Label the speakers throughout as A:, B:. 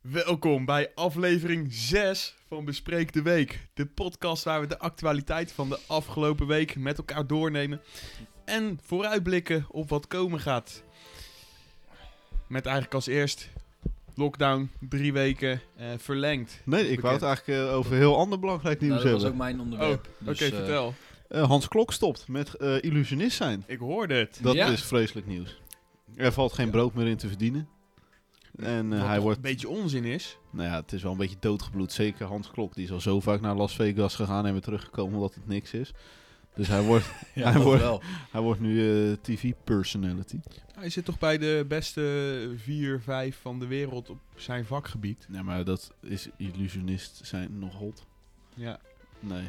A: Welkom bij aflevering 6 van Bespreek de Week. De podcast waar we de actualiteit van de afgelopen week met elkaar doornemen. En vooruitblikken op wat komen gaat. Met eigenlijk als eerst lockdown, drie weken eh, verlengd.
B: Nee, ik wou het eigenlijk eh, over heel ander belangrijk nieuws
C: Nou, dat was ook
B: hebben.
C: mijn
A: Oh,
C: onderwerp.
A: Oké,
C: dus, eh,
A: vertel.
B: Eh, Hans Klok stopt met eh, illusionist zijn.
A: Ik hoorde het.
B: Dat
C: Ja?
B: is vreselijk nieuws. Er valt geen
C: Ja.
B: brood meer in te verdienen. En eh,
A: Wat
B: hij
A: toch
B: wordt,
A: een beetje onzin is.
B: nou ja, het is wel een beetje doodgebloed. Zeker Hans Klok, die is al zo vaak naar Las Vegas gegaan en weer teruggekomen omdat het niks is. Dus hij wordt,
C: ja,
B: hij
C: dat
B: wordt-
C: wel.
B: hij wordt nu eh, TV-personality.
A: Hij zit toch bij de beste 4, 5 van de wereld op zijn vakgebied.
B: Nee, maar dat is illusionist zijn nog hot.
A: Ja.
B: Nee.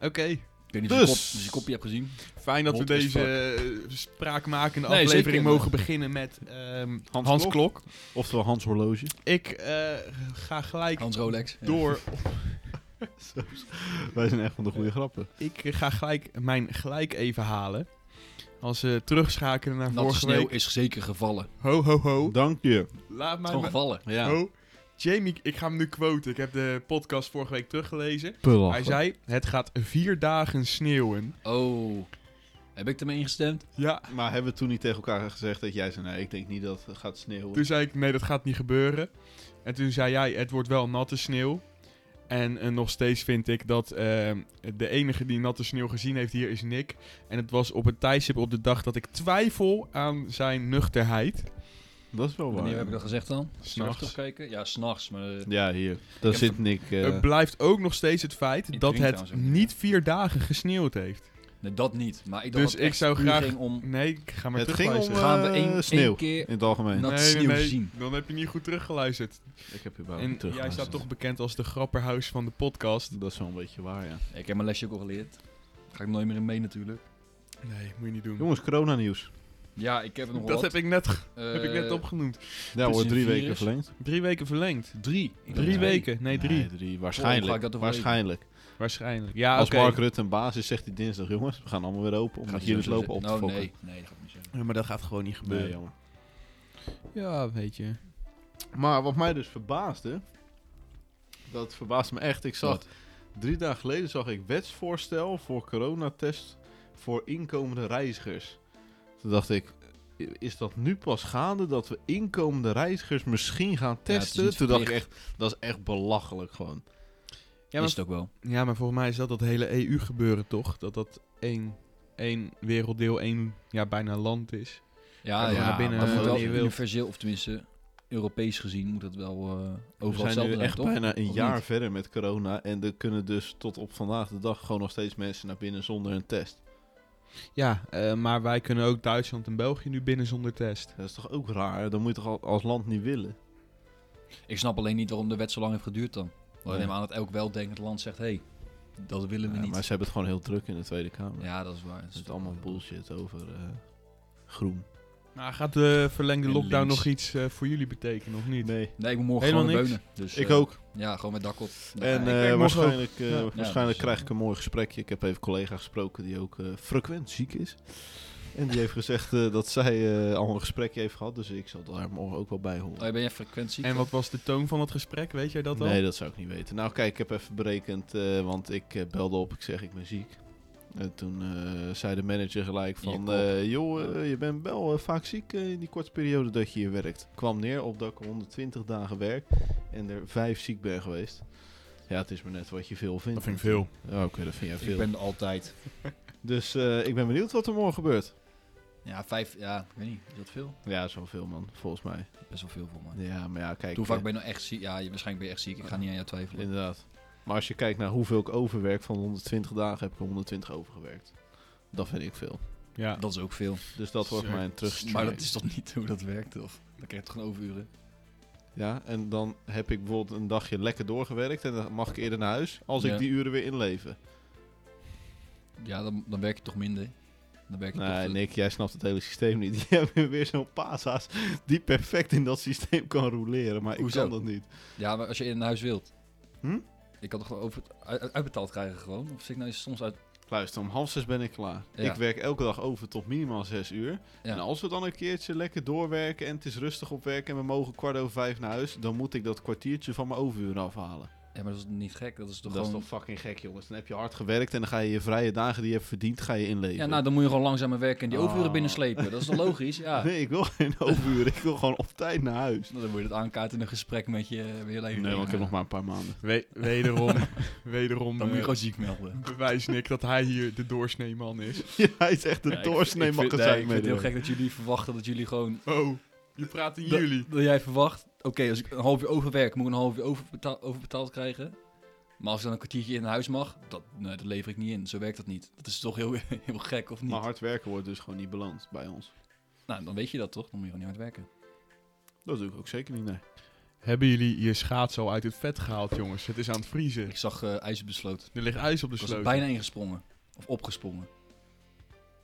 A: Oké.
C: Ik weet niet
B: Dus.
C: of, je kop, of je kopje hebt gezien.
A: Fijn dat we
C: Hot as
A: deze eh, spraakmakende
C: Nee,
A: aflevering
C: zeker.
A: mogen beginnen met ehm, Hans,
B: Hans
A: Klok.
B: Oftewel Hans Horloge.
A: Ik eh, ga gelijk
C: Hans Rolex. Ja.
A: door.
B: Wij zijn echt van de goede grappen.
A: Ik ga gelijk mijn gelijk even halen. Als we terugschakelen naar
C: Natte
A: vorige
C: sneeuw
A: week.
C: is zeker gevallen.
A: Ho, ho, ho.
B: Dank je.
A: Laat mij...
C: Gewoon
A: maar-
C: gevallen.
B: Ja.
A: Ho. Jamie, ik ga hem nu quoten. Ik heb de podcast vorige week teruggelezen. Hij
B: Belachelijk.
A: zei, het gaat vier dagen sneeuwen.
C: Oh. Heb ik ermee ingestemd?
A: Ja,
B: Maar hebben we toen niet tegen elkaar gezegd dat jij zei, nee, ik denk niet dat het gaat sneeuwen.
A: Toen zei ik, nee, dat gaat niet gebeuren. En toen zei jij, het wordt wel natte sneeuw. En eh, nog steeds vind ik dat ehm, de enige die natte sneeuw gezien heeft hier is Nick. En het was op een tijdstip op de dag dat ik twijfel aan zijn nuchterheid.
B: dat is wel
C: Wanneer
B: waar.
C: heb ik dat gezegd dan?
A: S'nachts.
C: Even kijken. Ja, s'nachts. Maar eh,
B: Ja, hier. Daar
C: Ik
B: zit Nick. eh,
A: Het blijft ook nog steeds het feit
C: Ik
A: dat
C: drink
A: het
C: trouwens ook niet.
A: niet vier dagen gesneeuwd heeft.
C: nee, dat niet. Maar ik dacht
A: Dus
C: dat
A: ik
C: echt
A: zou
C: puur
A: graag-
C: ging om...
A: Nee, ik ga maar
B: Het ging
A: terugluisteren.
B: om, eh,
C: Gaan we één- één
B: sneeuw.
C: keer...
B: in het algemeen.
C: Nou, natte
A: nee,
C: sneeuw gezien.
A: Dan heb je niet goed teruggeluisterd.
B: ik heb je bij
A: en jij staat toch bekend als de grapperhuis van de podcast.
B: Dat is wel een beetje waar, ja.
C: Ik heb mijn lesje ook al geleerd. Daar ga ik nooit meer in mee natuurlijk.
A: Nee, moet je niet doen.
B: Jongens, coronanieuws.
C: Ja, ik heb er nog
A: dat
C: wat.
A: heb ik, net, ge-
C: Eh,
A: heb ik net opgenoemd.
B: Ja,
C: is
B: wordt
C: een
B: drie
C: virus.
B: weken verlengd.
A: Drie weken verlengd.
C: Drie. Ik
A: Drie
C: dacht twee.
A: weken? Nee, drie.
C: Oh, ga ik
B: Waarschijnlijk.
C: dat Ah, overleven?
B: waarschijnlijk.
A: Waarschijnlijk. Ja,
B: Als
A: oké.
B: Mark Rutte een baas is, zegt hij dinsdag, jongens, we gaan allemaal weer open.
C: Gaat
B: Omdat
C: niet
B: jullie het
C: zo
B: lopen op te
C: zitten.
B: fokken.
C: Oh, nee. Nee, dat gaat niet zo.
A: Ja, maar dat gaat gewoon niet
B: Nee, jammer.
A: Ja, weet je.
B: Maar wat mij dus verbaasde, dat verbaasde me echt. Ik zag
C: Wat?
B: Drie dagen geleden zag ik wetsvoorstel voor coronatest voor inkomende reizigers. Toen dacht ik, is dat nu pas gaande dat we inkomende reizigers misschien gaan
C: is
B: testen?
C: niet
B: Toen dacht ik
C: verplicht.
B: echt, dat is echt belachelijk gewoon.
A: Ja
C: Is
A: maar,
C: het ook wel.
A: ja, maar volgens mij is dat dat hele EU gebeuren, toch? Dat dat één, één werelddeel, één ja, bijna land is.
C: Ja,
A: Kan
C: ja,
A: gewoon naar binnen,
C: maar
B: eh,
C: moet wel
A: wanneer je wil.
C: universeel, of tenminste Europees gezien, moet dat wel eh,
B: We
C: overal
B: zijn
C: hetzelfde
B: nu
C: zijn,
B: echt
C: toch?
B: bijna een
C: Of
B: jaar
C: niet?
B: verder met corona. En er kunnen dus tot op vandaag de dag gewoon nog steeds mensen naar binnen zonder een test.
A: Ja, eh, maar wij kunnen ook Duitsland en België nu binnen zonder test.
B: Dat is toch ook raar? Dan moet je toch al- als land niet willen?
C: Ik snap alleen niet waarom de wet zo lang heeft geduurd dan. Want
B: Ja.
C: ik neem aan dat elk weldenkend land zegt, hé, hey, dat willen we
B: Ja,
C: niet.
B: maar ze hebben het gewoon heel druk in de Tweede Kamer.
C: Ja, dat is waar.
B: Het is allemaal bullshit over eh, groen.
A: Maar Nou, gaat de verlengde
C: En
A: lockdown
C: links.
A: nog iets eh, voor jullie betekenen, of niet?
B: Nee,
C: Nee, ik moet morgen
B: Helemaal
C: gewoon naar
B: niks.
C: Beunen. Dus,
B: ik
C: eh,
B: ook.
C: Ja, gewoon met dak op. Dan
B: En
C: ga
B: eh,
C: ik.
A: denk morgen
B: waarschijnlijk, eh,
A: Ja.
C: Ja,
B: waarschijnlijk
C: dus,
B: krijg ik een mooi gesprekje. Ik heb even een collega gesproken die ook eh, frequent ziek is. En die heeft gezegd eh, dat zij eh, al een gesprekje heeft gehad. Dus ik zal daar morgen ook wel bij
C: Oh,
B: horen.
C: ben jij frequentie?
A: En wat was de toon van het gesprek? Weet jij dat al?
B: nee, dat zou ik niet weten. Nou kijk, ik heb even berekend, eh, want ik eh, belde op. Ik zeg, ik ben ziek. En toen eh, zei de manager gelijk
C: Je
B: van,
C: kop.
B: eh, joh, eh, je bent wel eh, vaak ziek eh, in die korte periode dat je hier werkt. Kwam neer op dat ik 120 dagen werk en er vijf ziek ben geweest. Ja, het is maar net wat je veel vindt.
A: Dat vind ik veel.
B: Oh, Oké, dat vind jij veel.
C: Ik ben er altijd.
B: Dus eh, ik ben benieuwd wat er morgen gebeurt.
C: Ja, vijf, ja, ik weet niet. Is dat veel?
B: Ja, zo'n veel man, volgens mij.
C: Best wel veel voor mij.
B: Ja, maar ja, kijk.
C: Hoe vaak
B: eh,
C: ben je nou echt ziek? Ja, je, waarschijnlijk ben je echt ziek. Ik ga niet aan jou twijfelen.
B: Inderdaad. Maar als je kijkt naar hoeveel ik overwerk van 120 dagen, heb ik er 120 overgewerkt. Dat vind ik veel.
A: Ja.
C: Dat is ook veel.
B: Dus dat wordt
A: Zeker.
B: mijn terugstrike.
C: Maar dat is toch niet hoe dat werkt, of? Dan krijg je toch gewoon overuren?
B: Ja, en dan heb ik bijvoorbeeld een dagje lekker doorgewerkt en dan mag ik eerder naar huis als
C: Ja.
B: ik die uren weer inleven.
C: Ja, dan, dan werk je toch minder. Dan werk je
B: Nee,
C: toch...
B: Nick, jij snapt het hele systeem niet. Die hebben weer zo'n paashaas die perfect in dat systeem kan roleren, maar ik
C: Hoezo?
B: kan dat niet.
C: Ja, maar als je in huis wilt.
B: Hm?
C: Ik kan toch gewoon over, uit- uitbetaald krijgen gewoon? Of zit ik nou eens soms uit...
B: Luister, om half zes ben ik klaar.
C: Ja.
B: Ik werk elke dag over tot minimaal zes uur.
C: Ja.
B: En als we dan een keertje lekker doorwerken en het is rustig op werk en we mogen kwart over vijf naar huis, dan moet ik dat kwartiertje van mijn overuren afhalen.
C: Ja, maar dat is niet gek. Dat is toch
B: dat
C: gewoon...
B: is toch fucking gek, jongens. Dan heb je hard gewerkt en dan ga je je vrije dagen die je hebt verdiend, ga je inleveren.
C: Ja, nou, dan moet je gewoon langzamer werken en die
B: Ah.
C: overuren binnenslepen. Dat is toch logisch? Ja. Nou,
B: Nee, ik wil geen overuren. ik wil gewoon op tijd naar huis.
C: Dan moet je dat aankaarten in een gesprek met je, met je leven.
B: Nee, want ik heb nog maar een paar maanden.
A: We- wederom, wederom
C: Dan moet je
A: eh,
C: gewoon ziek melden.
A: bewijs Nick dat hij hier de doorsneeman is.
B: Ja, hij is echt
C: Ja,
B: een
C: ik-
B: doorsnee
C: ik vind- nee,
B: magazijn
C: Ik vind het heel
B: mee.
C: gek dat jullie verwachten dat jullie gewoon...
A: Oh, je praat in
C: Dat-
A: jullie.
C: Dat jij verwacht, oké, als ik een half uur overwerk, moet ik een half uur overbetaal- overbetaald krijgen. Maar als ik dan een kwartiertje in huis mag, dat, nee, dat lever ik niet in. Zo werkt dat niet. Dat is toch heel, heel gek, of niet?
B: Maar hard werken wordt dus gewoon niet beland bij ons.
C: Nou, dan weet je dat toch? Dan moet je gewoon niet hard werken.
B: Dat doe ik ook zeker niet, nee.
A: Hebben jullie je schaats al uit het vet gehaald, jongens? Het is aan het vriezen.
C: Ik zag eh ijzer besloten.
A: Er ligt ijs op de
C: Ik was er
A: sloot.
C: bijna ingesprongen. Of opgesprongen.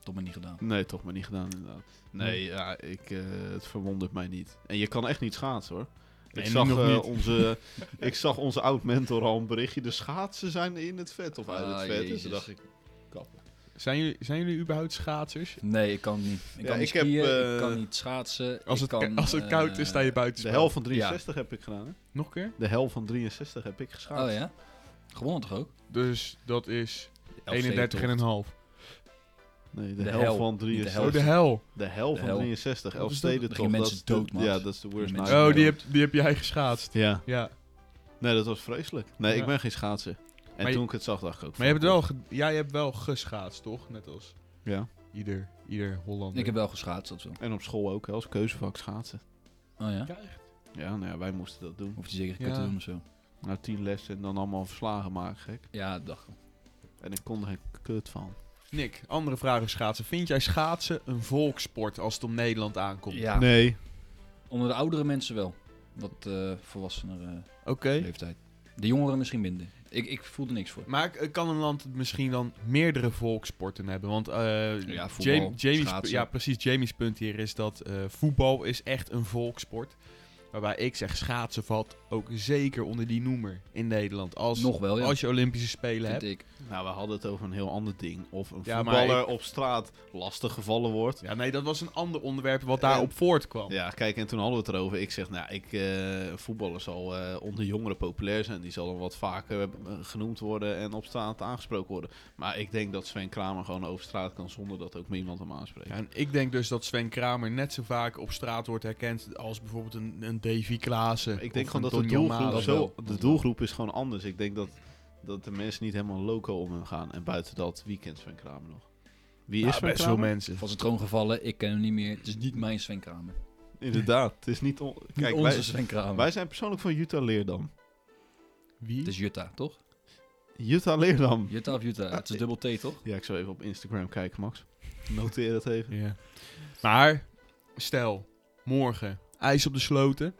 C: Dat maar niet gedaan.
B: Nee, toch maar niet gedaan inderdaad. Nee, ja, ik, eh, het verwondert mij niet. En je kan echt niet schaatsen hoor.
A: Nee,
B: Ik,
A: nu
B: zag,
A: nog
B: eh,
A: niet.
B: onze, ik zag onze oud-mentor al een berichtje. De schaatsen zijn in het vet of uit
C: Ah,
B: het vet. En
C: Jezus.
B: toen dacht ik, kappen.
A: Zijn jullie, zijn jullie überhaupt schaatsers?
C: Nee, ik kan het niet. Ik
B: Ja,
C: kan niet
B: ik heb,
C: skiën, ik
B: eh,
C: kan niet schaatsen.
A: Als
C: ik
A: het,
C: kan,
A: als het
C: eh,
A: koud is, sta je buiten.
B: De helft van 63 heb ik gedaan. Hè?
A: Nog een keer?
B: De helft van 63 heb ik geschaatst.
C: Oh ja? Gewonnen toch ook?
A: Dus dat is 31
C: 31
A: en een half.
B: Nee, de,
C: De
B: helft
C: hel,
B: van
C: niet de
B: 63.
A: Oh, de hel.
B: De hel
C: De
B: van
C: hel.
B: 63,
C: Wat
B: elf
C: is dat?
B: steden
C: Dan
B: toch.
C: gingen
B: dat
C: mensen
B: is de-
C: dood, Max.
B: Ja, dat is de worst
C: Mensen
B: nightmare.
A: Oh, die heb, die heb jij geschaatst.
B: Ja,
A: Ja.
B: nee, dat was vreselijk. Nee,
A: Ja.
B: ik ben geen schaatser. En
A: Maar je-
B: toen ik het zag, dacht ik ook.
A: Maar je hebt wel ge- jij hebt wel geschaatst, toch? Net als
B: Ja.
A: ieder, ieder Hollander.
C: Ik heb wel geschaatst, dat wel.
B: En op school ook, hè, als keuzevak schaatsen.
C: Oh ja?
A: Ja, echt.
B: Ja, nou ja, wij moesten dat doen.
C: Hoef je zeker
A: Ja.
C: kut te doen of zo.
B: Nou, tien lessen en dan allemaal verslagen maken, gek.
C: Ja, dacht ik.
B: En ik kon er geen kut van.
A: Nick, andere vraag over schaatsen. Vind jij schaatsen een volkssport als het om Nederland aankomt?
C: Ja,
B: Nee.
C: onder de oudere mensen wel. Wat eh volwassener eh,
A: Oké.
C: leeftijd. De jongeren misschien minder. Ik, ik voel er niks voor.
A: Maar eh, kan een land misschien dan meerdere volkssporten hebben? Want eh,
C: Ja, voetbal,
A: Jamie- Jamie's,
C: schaatsen.
A: ja, precies. Jamie's punt hier is dat eh, voetbal is echt een volkssport. Waarbij ik zeg schaatsen valt ook zeker onder die noemer in Nederland. Als,
C: Nog wel, ja.
A: als je Olympische Spelen
C: vind
A: hebt.
C: ik.
B: Nou, we hadden het over een heel ander ding. Of een
A: Ja, maar
B: voetballer op straat lastig gevallen wordt.
A: Ja, nee, dat was een ander onderwerp wat
B: En-
A: daarop voortkwam.
B: Ja, kijk, en toen hadden we het erover. Ik zeg, nou, ik, eh, een voetballer zal eh, onder jongeren populair zijn. Die zal dan wat vaker eh, genoemd worden en op straat aangesproken worden. Maar ik denk dat Sven Kramer gewoon over straat kan zonder dat ook maar iemand hem aanspreekt.
A: Ja, en ik denk dus dat Sven Kramer net zo vaak op straat wordt herkend als bijvoorbeeld een, een Davy Klaassen.
B: ik denk
A: of
B: gewoon
A: een
B: dat de
A: Donny
B: doelgroep,
A: Malen.
C: wel.
B: zo,
C: Dat
B: de
C: wel.
B: doelgroep is gewoon anders. Ik denk dat, dat de mensen niet helemaal loco om hem gaan. En buiten dat, wie kent Sven Kramer nog? Wie
A: Ja,
B: is Sven
A: best veel
B: Kramer?
A: mensen.
C: Van zijn troon gevallen, ik ken hem niet meer. Het is niet mijn Sven Kramer.
B: Inderdaad, het is niet... on-
C: Kijk,
B: Kijk,
C: onze
B: wij,
C: Sven Kramer.
B: wij zijn persoonlijk van Jutta Leerdam.
A: Wie?
C: Het is Jutta, toch?
B: Jutta Leerdam.
C: Jutta of Jutta? Het is dubbel T, toch?
B: Ja, ik zou even op Instagram kijken, Max. Noteer dat even.
A: Ja. Maar, stel, morgen ijs op de sloten.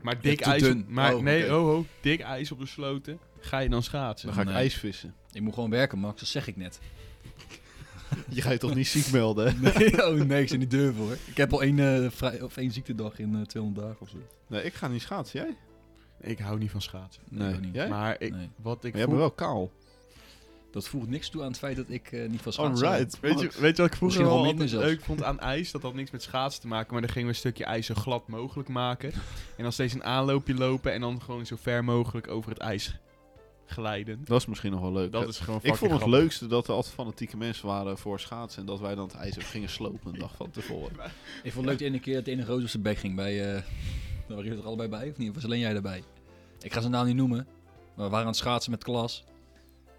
A: Maar dik
C: te
A: ijs.
C: dun.
A: Maar
C: Oh,
A: nee,
C: oké.
A: oh, oh, dik ijs op de sloten. Ga je dan schaatsen?
B: Dan ga ik
C: Nee.
B: ijsvissen.
C: Ik moet gewoon werken, Max. Dat zeg ik net.
B: Je gaat je toch niet ziek melden, hè?
C: Nee, oh nee, ik zit niet durven hoor. Ik heb al één, eh, vrij, of één ziektedag in eh, 200 dagen of zo.
B: Nee, ik ga niet schaatsen. Jij?
A: Ik hou niet van schaatsen.
C: Nee, ook niet.
B: Jij? Maar
A: Maar ik,
C: Nee.
A: wat ik
B: jij bent
A: vroeg-
B: wel kaal.
C: Dat voegt niks toe aan het feit dat ik eh, niet van schaatsen hou.
B: Alright.
A: Weet je, weet je wat ik vroeger
C: Misschien
A: wel
C: wel
A: altijd
C: minder zelfs.
A: leuk vond aan ijs? Dat had niks met schaatsen te maken, maar dan gingen we een stukje ijs zo glad mogelijk maken. En dan steeds een aanloopje lopen en dan gewoon zo ver mogelijk over het ijs glijden.
B: Dat is misschien nog wel leuk.
A: Dat is gewoon
B: ik
A: fucking
B: vond het
A: grappig.
B: leukste dat er altijd fanatieke mensen waren voor schaatsen. En dat wij dan het ijs even gingen slopen een dag van tevoren.
C: Ik vond het leuk de ene keer dat de ene roos op zijn bek ging bij... eh daar waren jullie er allebei bij, of niet? Of was alleen jij erbij? Ik ga zijn naam niet noemen. Maar we waren aan het schaatsen met klas.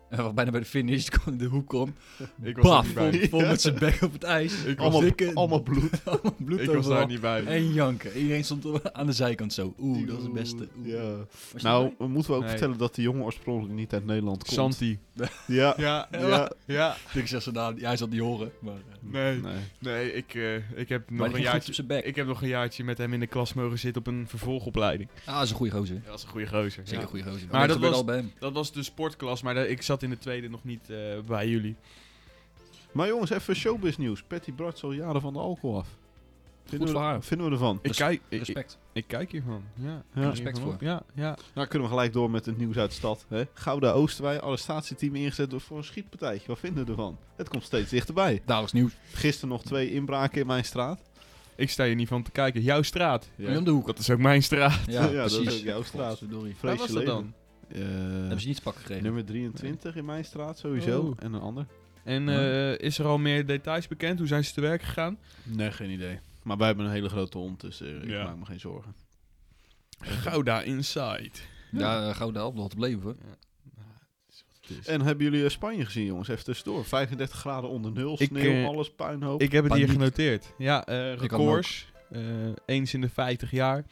C: En we waren bijna bij de finish. Toen kwam de hoek om.
A: Ik was
C: Baf!
A: er niet bij.
C: Vol, vol met zijn bek op het ijs.
A: Ik was-
C: Allemaal- dikke-
B: allemaal bloed.
C: allemaal bloed
A: Ik was
C: overal.
A: daar niet bij.
C: En janken. Iedereen stond aan de zijkant zo. Oeh, dat is het beste. Oeh.
B: Ja.
C: Was je
B: Nou,
C: erbij?
B: we moeten we ook
A: Nee.
B: vertellen dat de jongen oorspronkelijk niet uit Nederland komt.
A: Santi.
B: Ja.
A: Ja, ja,
B: Ja.
A: ja.
C: ik zeg zijn naam. Ja, hij zal het niet horen. Maar, eh.
A: Nee,
B: Nee.
A: nee ik, eh, ik, heb nog een
C: Maar die ging goed op
A: jaartje,
C: zijn bek.
A: ik heb nog een jaartje met hem in de klas mogen zitten op een vervolgopleiding.
C: Ah, dat is een goede gozer.
A: Dat was een goede gozer.
C: Zeker
A: Ja.
C: een goede gozer.
A: Maar dat
C: gebeurde
A: was-
C: al bij hem.
A: Dat was de sportklas, maar daar- ik zat in de tweede nog niet eh, bij jullie.
B: Maar jongens, even showbiz nieuws. Patty Bart zal jaren van de alcohol af. Vinden,
C: voor
B: we,
C: haar.
B: vinden we ervan?
A: Ik
C: Res-
A: kijk, ik,
C: Respect.
A: ik- Ik kijk hiervan. Ja,
B: Ja.
C: Respect
A: Hiervan op. Ja, ja.
B: Nou, kunnen we gelijk door met het nieuws uit de stad. Hè? Gouda Oosterwij, arrestatieteam ingezet door- voor een schietpartijtje. Wat vinden we ervan? Het komt steeds dichterbij.
C: Dagelijks nieuws.
B: Gisteren nog twee inbraken in mijn straat.
A: Ik sta hier niet van te kijken. Jouw straat.
C: Kom je om de hoek.
A: Dat is ook mijn straat.
C: Ja,
B: Ja, dat is
C: precies.
B: ook jouw straat.
C: Godverdorie.
A: Waar
B: Vrees
A: was
B: je
A: dat
B: leven.
A: dan?
B: Eh,
C: Hebben ze niet te pakken gekregen.
B: nummer 23 in mijn straat sowieso.
A: Oh.
B: En een ander.
A: En eh, is er al meer details bekend? Hoe zijn ze te werk gegaan?
B: Nee, geen idee. Maar wij hebben een hele grote hond, dus eh, ik
A: Ja.
B: maak me geen zorgen.
A: Gouda Inside.
C: Ja, eh, Gouda op nog te blijven hoor.
B: En hebben jullie eh, Spanje gezien, jongens? Even tussendoor. 35 graden onder nul,
A: Ik,
B: sneeuw,
A: eh,
B: alles, puinhoop.
A: Ik heb het
C: Paniek.
A: hier genoteerd. Ja, eh
C: hem
A: records. eh, eens in de 50 jaar.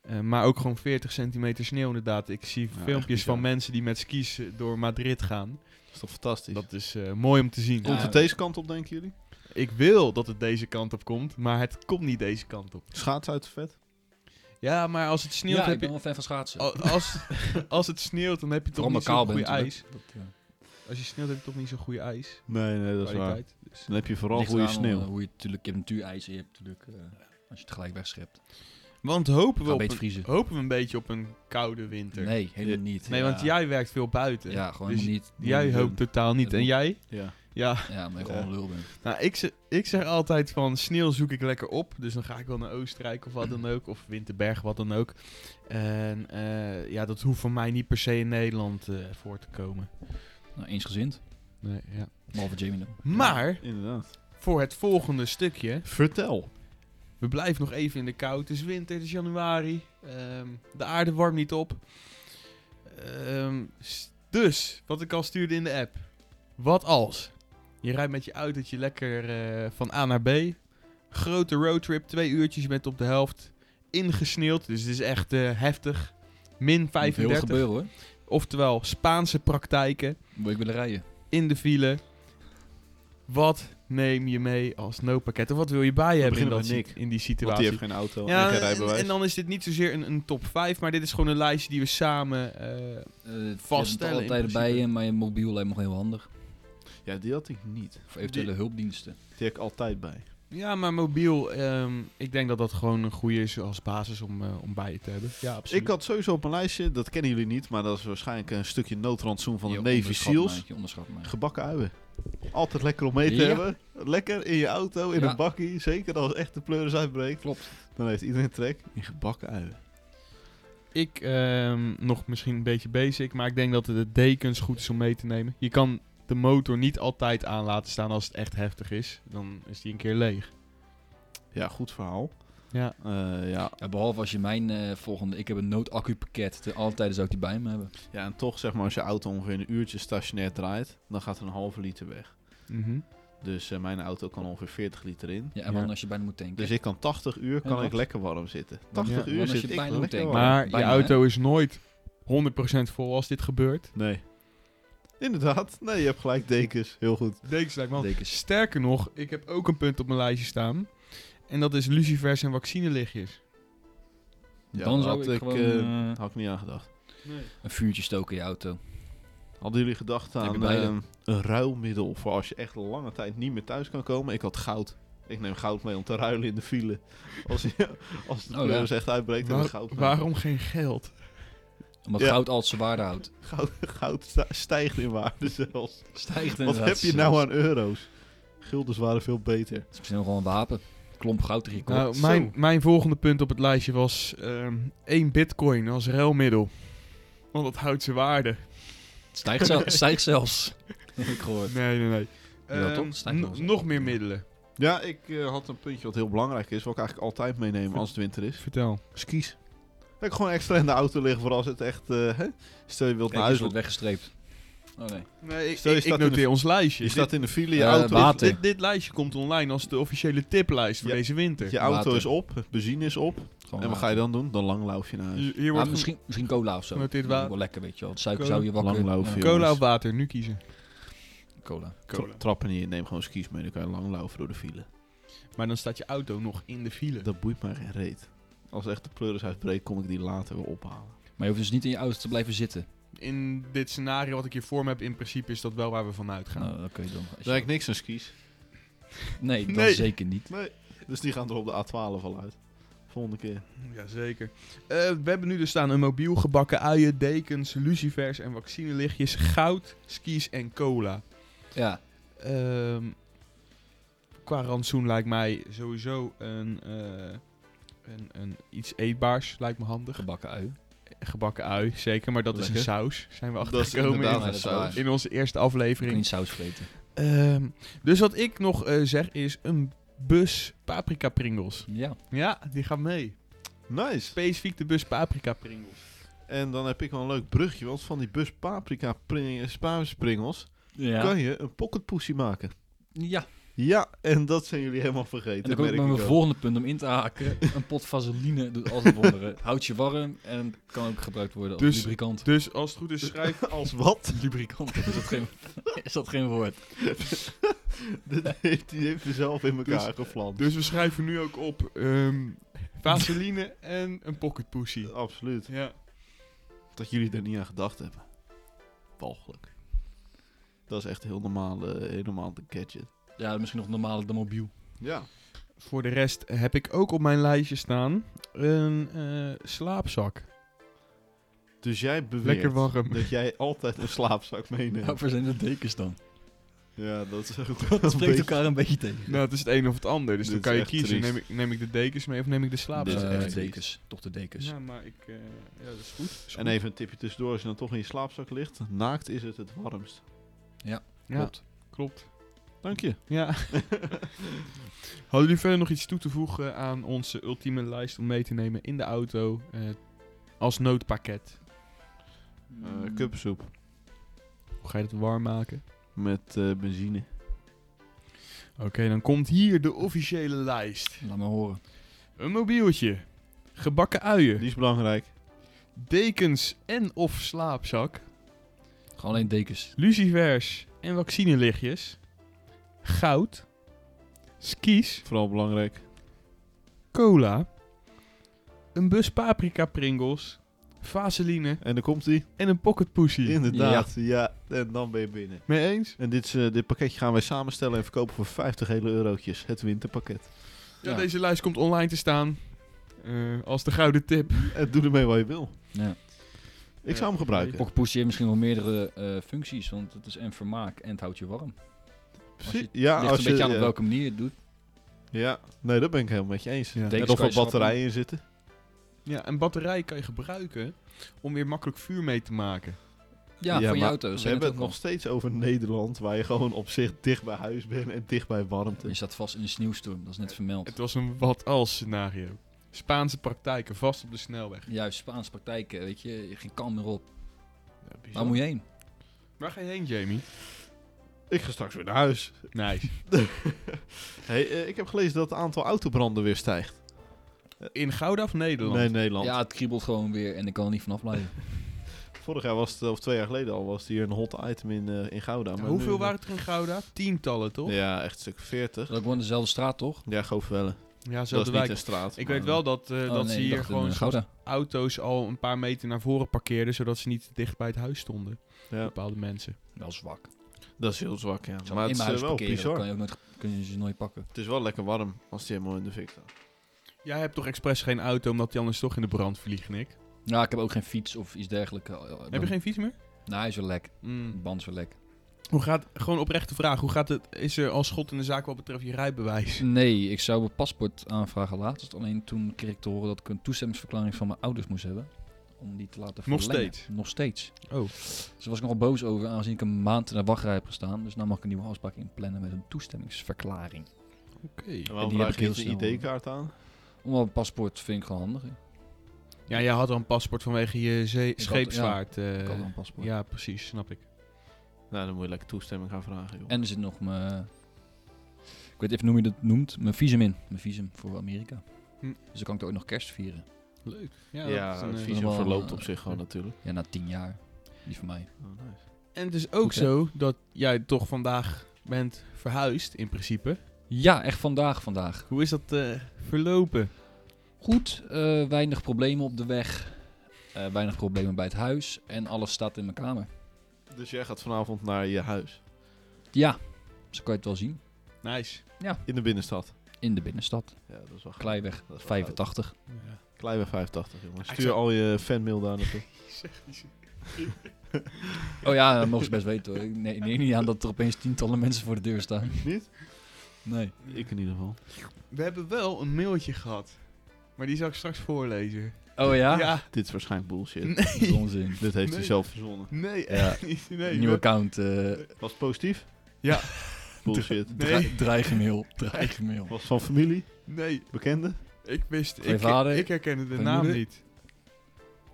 A: Eh, maar ook gewoon 40 centimeter sneeuw inderdaad. Ik zie
B: echt
A: filmpjes
B: bizar.
A: van mensen die met skis eh, door Madrid gaan.
B: dat is toch fantastisch?
A: Dat is eh, mooi om te zien.
C: Ja.
B: Komt het deze kant op, denken jullie?
A: Ik wil dat het deze kant op komt, maar het komt niet deze kant op.
B: Schaats uit de vet?
A: Ja, maar als het sneeuwt,
C: Ja, ik
A: heb
C: ben
A: je...
C: wel een fan van
B: Oh,
C: schaatsen.
A: al- Als, als het sneeuwt, dan heb je toch
C: Vooral
A: niet
C: kaal
A: zo'n
C: bent.
A: goede
C: natuurlijk.
A: ijs.
C: Dat, eh,
A: Als je sneeuwt, heb je toch niet zo'n goede ijs.
B: Nee, nee, dat
A: kwaliteit. Dus-
B: Dan heb je vooral
C: ligt
B: goede
C: eraan, eh,
B: sneeuw.
C: Hoe je, natuurlijk, je hebt natuurijs en je hebt natuurlijk... eh, als je het gelijk wegschept.
A: Want hopen we,
C: Ga
A: op
C: beter
A: een,
C: vriezen.
A: hopen we een beetje op een koude winter.
C: Nee, helemaal niet.
A: Nee,
C: Ja.
A: want jij werkt veel buiten.
C: Ja, gewoon
A: Dus
C: helemaal niet.
A: Jij
B: Moet je
A: hoopt
B: doen.
A: totaal niet.
C: Dat
A: En
C: moet-
A: jij?
B: Ja.
A: Ja.
C: Ja, omdat je
B: Ja.
C: gewoon een lul bent.
A: Nou, ik, ze- ik zeg altijd van sneeuw zoek ik lekker op. Dus dan ga ik wel naar Oostenrijk of wat dan ook. Of Winterberg, wat dan ook. En eh, ja, dat hoeft voor mij niet per se in Nederland eh, voor te komen.
C: Nou, eensgezind.
A: Nee, ja.
C: Behalve Jamie dan.
A: Maar
B: Inderdaad.
A: voor het volgende stukje.
B: Vertel.
A: We blijven nog even in de kou. Het is winter, het is januari. Ehm, de aarde warmt niet op. Ehm, s- dus, wat ik al stuurde in de app. Wat als? Je rijdt met je autootje lekker eh, van A naar B. Grote roadtrip, twee uurtjes, je bent op de helft. Ingesneeuwd, dus het is echt eh, heftig. Min
C: Heel wat
A: 35.
C: gebeuren hoor.
A: Oftewel, Spaanse praktijken
C: Moet ik willen rijden.
A: in de file. Wat neem je mee als noodpakket? Of wat wil je bij je hebben in,
B: beginnen
A: dat
B: met
A: si-
B: Nick,
A: in die situatie?
B: Want die heeft geen auto en
A: Ja,
B: geen
A: en,
B: rijbewijs.
A: en dan is dit niet zozeer een, een top 5, maar dit is gewoon een lijstje die we samen. eh,
C: Uh,
A: Vaststellen in
C: altijd
A: principe.
C: bij je, maar je mobiel lijkt me nog heel handig.
B: Ja, die had ik niet.
C: Of eventuele hulpdiensten.
B: Die heb ik altijd bij.
A: ja, maar mobiel, ehm, ik denk dat dat gewoon een goede is als basis om, eh, om bij je te hebben. Ja, absoluut.
B: Ik had sowieso op mijn lijstje, dat kennen jullie niet, maar dat is waarschijnlijk een stukje noodrantsoen van de
C: Je
B: Navy
C: onderschat
B: Seals.
C: mij, Je onderschat mij.
B: Gebakken uien. Altijd lekker om mee te
C: Ja.
B: hebben. Lekker in je auto, in
C: Ja.
B: een bakkie. Zeker als echt de pleuris uitbreekt.
C: Klopt.
B: Dan heeft iedereen trek in gebakken uien.
A: Ik, ehm, nog misschien een beetje basic, maar ik denk dat de dekens goed is om mee te nemen. Je kan de motor niet altijd aan laten staan als het echt heftig is. Dan is die een keer leeg.
B: Ja, goed verhaal.
A: Ja.
B: Eh, ja.
C: Ja, behalve als je mijn eh, volgende... Ik heb een noodaccupakket. Te- Altijd zou ik die bij me hebben.
B: ja, en toch zeg maar, als je auto ongeveer een uurtje stationair draait, dan gaat er een halve liter weg.
A: Mhm.
B: Dus eh, mijn auto kan ongeveer 40 liter in.
C: Ja, en
A: Ja.
C: dan als je bijna moet tanken.
B: Dus ik kan 80 uur kan
C: En
B: ik
C: wat?
B: lekker warm zitten. 80
A: Ja,
B: uur
C: want als
B: zit
C: je
B: ik
C: bijna
B: lekker
C: moet
B: warm.
A: Maar je
C: bijna, hè?
A: auto is nooit 100% vol als dit gebeurt.
B: Nee. Inderdaad. Nee, je hebt gelijk dekens. Heel goed.
A: Dekens lijkt me
C: Dekens.
A: Sterker nog, ik heb ook een punt op mijn lijstje staan. En dat is lucifers en vaccinelichtjes.
B: Ja,
C: dan
B: had
C: zou ik,
B: ik,
C: gewoon
B: eh,
C: eh,
B: Had ik niet aan gedacht.
C: een vuurtje stoken in je auto.
B: Hadden jullie gedacht
C: Heb je
B: aan
C: beide?
B: ehm, een ruilmiddel voor als je echt lange tijd niet meer thuis kan komen? Ik had goud. Ik neem goud mee om te ruilen in de file. Als, je- als de
C: Oh,
B: kleur
C: ja.
B: is echt uitbreekt, heb
A: Waar-
B: ik goud mee.
A: waarom geen geld?
C: Omdat
B: Ja.
C: goud altijd zijn waarde houdt.
B: Goud, goud sta- stijgt in waarde zelfs.
C: Stijgt
B: Wat heb je nou aan euro's? Guldens waren veel beter.
C: Het is misschien wel gewoon een wapen. Klomp goud tegen je kop.
A: Nou, mijn, mijn volgende punt op het lijstje was ehm één bitcoin als ruilmiddel. Want dat houdt zijn waarde.
C: Het stijgt, zel- het stijgt zelfs. heb ik gehoord.
A: Nee, nee, nee.
C: Ja,
A: Ehm,
C: toch? Stijgt wel
A: n-
C: zo.
A: nog meer middelen.
B: Ja, ik eh, had een puntje wat heel belangrijk is, wat ik eigenlijk altijd meeneem als het winter is.
A: Vertel.
B: Skis. Hm. Dat ik gewoon extra in de auto liggen voor als het echt... eh, hè? Stel je wilt
C: Kijk,
B: naar
C: die
B: huis.
C: is wat weggestreept. Oh nee.
A: Nee, ik,
B: Stel, je
A: ik, ik
B: staat in
A: noteer ons lijstje.
B: Je staat in de file, je
C: Eh,
B: auto,
C: water.
A: dit, dit, dit lijstje komt online als de officiële tiplijst voor
B: Ja.
A: deze winter.
B: je auto
C: Water. eh,
B: is op, benzine is op.
C: Gewoon
B: En wat
C: wapen.
B: ga je dan doen? Dan langlauf je naar huis.
A: Hier hier
C: Maar
A: wordt misschien...
C: misschien, misschien cola of zo.
A: Met dit
C: Dat is
A: wa-
C: wel lekker, weet je wel. Het suiker
A: Cola.
C: zou je wakker...
B: Langlauf,
C: Ja,
B: joh.
A: cola of water, nu kiezen.
C: cola.
B: Tra- Trap er niet in, neem gewoon skis mee, dan kan je langlaufen door de file.
A: Maar dan staat je auto nog in de file.
B: Dat boeit mij geen reet. Als echt de pleuris uitbreekt, kom ik die later weer ophalen.
C: Maar je hoeft dus niet in je auto te blijven zitten.
A: In dit scenario wat ik hier voor me heb, in principe is dat wel waar we vanuit gaan.
C: Nou, dat kun je dan. als je-
B: Daar heb ik niks aan skis.
C: Nee, dat
A: Nee.
C: zeker niet.
B: Nee. Dus die gaan er op de A12 al uit. Volgende keer.
A: Jazeker. Eh, we hebben nu dus staan een mobiel, gebakken uien, dekens, lucifers en vaccinelichtjes, goud, skis en cola.
C: Ja,
A: Ehm, qua rantsoen lijkt mij sowieso een, eh, een, een iets eetbaars, lijkt me handig.
C: gebakken ui.
A: Gebakken ui, zeker, maar dat is een
B: Lekker.
A: saus, zijn we
B: Dat is
A: achtergekomen
B: inderdaad een
C: in. Ja, dat is waar.
B: saus.
A: in, in onze eerste
C: Je kan
A: aflevering.
C: niet saus vreten.
A: Ehm, dus wat ik nog eh, zeg is een bus paprika pringles.
C: Ja.
A: Ja, die gaat mee.
B: Nice.
A: Specifiek de bus paprika pringles.
B: En dan heb ik wel een leuk brugje, want van die bus paprika pring- spaarspringels
C: Ja.
B: kan je een pocketpoesie maken.
C: ja.
B: Ja, en dat zijn jullie helemaal
C: En
B: vergeten.
C: dan kom ik
B: merk
C: bij
B: ik
C: mijn
B: ook.
C: volgende punt om in te haken. Een pot vaseline doet altijd wonderen. Het Houdt je warm en kan ook gebruikt worden als
A: Dus-
C: lubrikant.
A: Dus als het goed is, schrijf als
B: Wat?
C: Lubrikant, is dat geen, is dat geen woord?
B: Dit heeft, die heeft hij zelf in elkaar
A: Dus-
B: gevlamd.
A: Dus we schrijven nu ook op ehm, Vaseline en een pocket pussy.
B: Absoluut.
A: Ja.
B: Dat jullie er niet aan gedacht hebben. Walgelijk. Dat is echt heel normaal, eh, heel normaal de gadget.
C: Ja, misschien nog normaler dan mobiel.
B: Ja.
A: Voor de rest heb ik ook op mijn lijstje staan een eh, slaapzak.
B: Dus jij beweert
A: Lekker warm.
B: dat jij altijd een slaapzak meeneemt.
C: Waarvoor zijn de dekens dan?
B: Ja, dat is ook
C: Dat spreekt elkaar een beetje tegen.
A: Nou, het is het een of het ander, dus
B: Dit
A: dan
B: is
A: kan je
B: echt
A: kiezen.
B: triest.
A: Neem ik, neem ik de dekens mee of neem ik de
B: Dit is
A: slaapzak?
C: Eh,
B: echt
C: de
B: iets.
C: dekens. Toch de dekens.
A: Ja, maar ik... eh, ja, dat is goed. Is
B: En
A: goed.
B: even een tipje tussendoor, als je dan toch in je slaapzak ligt, naakt is het het warmst.
A: Ja, klopt.
B: Dank je.
A: Ja. Hadden jullie verder nog iets toe te voegen aan onze ultieme lijst om mee te nemen in de auto eh, als noodpakket?
B: Eh kuppensoep
A: Hoe ga je dat warm maken?
B: met eh, benzine.
A: Oké, dan komt hier de officiële lijst.
C: Laat me horen.
A: Een mobieltje, gebakken uien,
B: Die is belangrijk.
A: dekens en of slaapzak,
C: Gewoon alleen dekens.
A: lucifers en vaccinelichtjes, goud, skis,
B: Vooral belangrijk.
A: cola, een bus paprika pringles, vaseline
B: En dan komt hij.
A: en een pocket pussy.
B: Inderdaad. Ja. en dan ben je binnen.
A: Mee eens?
B: En dit, is, eh, dit pakketje gaan wij samenstellen en verkopen voor 50 hele eurotjes. Het winterpakket.
A: Ja,
C: Ja.
A: deze lijst komt online te staan. eh, als de gouden tip.
B: En doe ermee wat je wil.
C: Ja.
B: Ik zou hem gebruiken.
C: Pocketpoesje heeft misschien wel meerdere eh, functies, want het is en vermaak en het houdt je warm. Als je-
B: ja,
C: ligt een beetje aan op
B: ja.
C: welke manier je het doet.
B: Ja, nee, dat ben ik helemaal met je eens.
A: Ja.
B: Er
C: Dekens
B: nog
C: kan
B: wat
C: je schrappen.
B: batterijen in zitten.
A: Ja, en batterij kan je gebruiken om weer makkelijk vuur mee te maken.
C: Ja, van je
B: maar
C: auto.
B: We hebben het nog steeds over Nederland, waar je gewoon op zich dicht bij huis bent en dicht bij warmte.
C: Je staat vast in een sneeuwstorm, dat is net vermeld.
A: Het was een wat als scenario. Spaanse praktijken vast op de snelweg.
C: Juist, Spaanse praktijken, weet je, geen kan meer op.
B: bizar.
C: Waar moet je heen?
A: Waar ga je heen, Jamie?
B: Ik ga straks weer naar huis.
A: Nice.
B: Hey, eh, ik heb gelezen dat het aantal autobranden weer stijgt.
A: In Gouda of Nederland?
B: Nee, Nederland.
C: Ja, het kriebelt gewoon weer en ik kan er niet vanaf blijven.
B: Vorig jaar was het, of twee jaar geleden al, was het hier een hot item in, eh, in Gouda.
A: Nou,
B: maar
A: hoeveel
B: nu-
A: waren het er in Gouda? Tientallen, toch?
B: Ja, echt een stuk 40.
C: Dat ook gewoon dezelfde straat, toch?
B: Ja, Goofwellen.
A: Ja,
B: Dat
A: zelfde
B: is niet
A: wijk.
B: een straat.
A: Ik
B: maar-
A: weet wel dat, eh,
C: Oh,
A: dat
C: nee,
A: ze
C: ik
A: hier
C: dacht in,
A: gewoon
C: eh, Gouda.
A: auto's al een paar meter naar voren parkeerden, zodat ze niet te dicht bij het huis stonden.
B: Ja,
A: Bepaalde mensen.
C: Wel zwak.
B: dat is heel zwak, ja.
C: Zo
B: Maar het
C: in
B: is
C: mijn
B: eh,
C: huis
B: wel
C: parkeren,
B: bizar.
C: kan je ook nooit, kun je ze nooit pakken.
B: Het is wel lekker warm als die helemaal in de fik staat.
A: Jij hebt toch expres geen auto, omdat die anders toch in de brand vliegt, Nick?
C: Ja, Nou, ik heb ook geen fiets of iets dergelijks. Eh,
A: Heb je geen fiets meer?
C: Nee, Nou, hij is wel lek.
A: Mm.
C: De band is wel lek.
A: Hoe gaat, gewoon oprechte vraag, hoe gaat het, is er al schot in de zaak wat betreft je rijbewijs?
C: Nee, ik zou mijn paspoort aanvragen laatst. Alleen toen kreeg ik te horen dat ik een toestemmingsverklaring van mijn ouders moest hebben. Om die te laten
A: Nog
C: verlengen.
A: steeds?
C: Nog steeds.
A: Oh.
C: Dus daar was ik nogal boos over, aangezien ik een maand in de wachtrij heb gestaan. Dus nu mag ik een nieuwe afspraak inplannen met een toestemmingsverklaring.
A: Oké.
B: En
C: En
B: waarom
C: die
B: vraag
C: heb ik
B: je
C: heel
B: een
C: snel,
B: ID-kaart aan?
C: Omdat een paspoort vind ik gewoon handig. hè.
A: Ja, jij had al een paspoort vanwege je zee-
C: had-
A: scheepsvaart. eh,
C: Ik had al een paspoort.
A: ja, precies, snap ik.
B: Nou, dan moet je lekker toestemming gaan vragen, joh.
C: En er zit nog mijn... Ik weet even hoe je dat noemt. Mijn visum in. Mijn visum voor Amerika.
A: Hm.
C: Dus dan kan ik er ook nog kerst vieren.
A: Leuk.
B: Ja,
A: Ja, dat is
B: het
A: een, eh,
C: vies.
B: visum
C: wel,
B: verloopt
C: eh,
B: op zich gewoon natuurlijk.
C: Ja, na tien jaar. Die van mij.
B: Oh,
A: en het is ook
C: Goed, hè?
A: zo dat jij toch vandaag bent verhuisd, in principe.
C: Ja, echt vandaag vandaag.
A: Hoe is dat eh, verlopen?
C: Goed, eh, weinig problemen op de weg. eh, weinig problemen bij het huis. En alles staat in mijn kamer.
B: Dus jij gaat vanavond naar je huis.
C: Ja, zo kan je het wel zien.
A: Nice.
B: In de binnenstad.
C: in de binnenstad.
B: Ja, dat is wel gaaf.
C: Kleiweg
B: Dat is wel
C: 85.
A: Ja.
B: Kleiweg 85, jongens.
A: Ik
B: Stuur
A: zou-
B: al je fanmail daar naartoe.
C: Oh ja, dat mogen ze best weten hoor. Ik ne- neem niet aan dat er opeens tientallen mensen voor de deur staan.
B: Niet?
C: Nee.
B: Ik in ieder geval.
A: We hebben wel een mailtje gehad. Maar die zal ik straks voorlezen.
C: Oh ja?
B: Dit is waarschijnlijk bullshit.
C: Dat is
A: Nee.
C: onzin.
B: Dit heeft
A: Nee.
B: hij zelf verzonnen.
A: Nee,
C: Ja.
A: echt niet. Nee,
C: Nieuw
A: we-
C: account. eh
B: Was het positief?
A: Ja.
B: Bullshit.
A: Nee.
C: dra- Dreigenmail. Dreigenmail.
B: Was het van familie?
A: nee,
B: Bekende?
A: ik wist...
C: Van je
A: Ik,
C: vader?
A: ik herkende de
C: Van je
A: naam
C: moeder?
A: niet.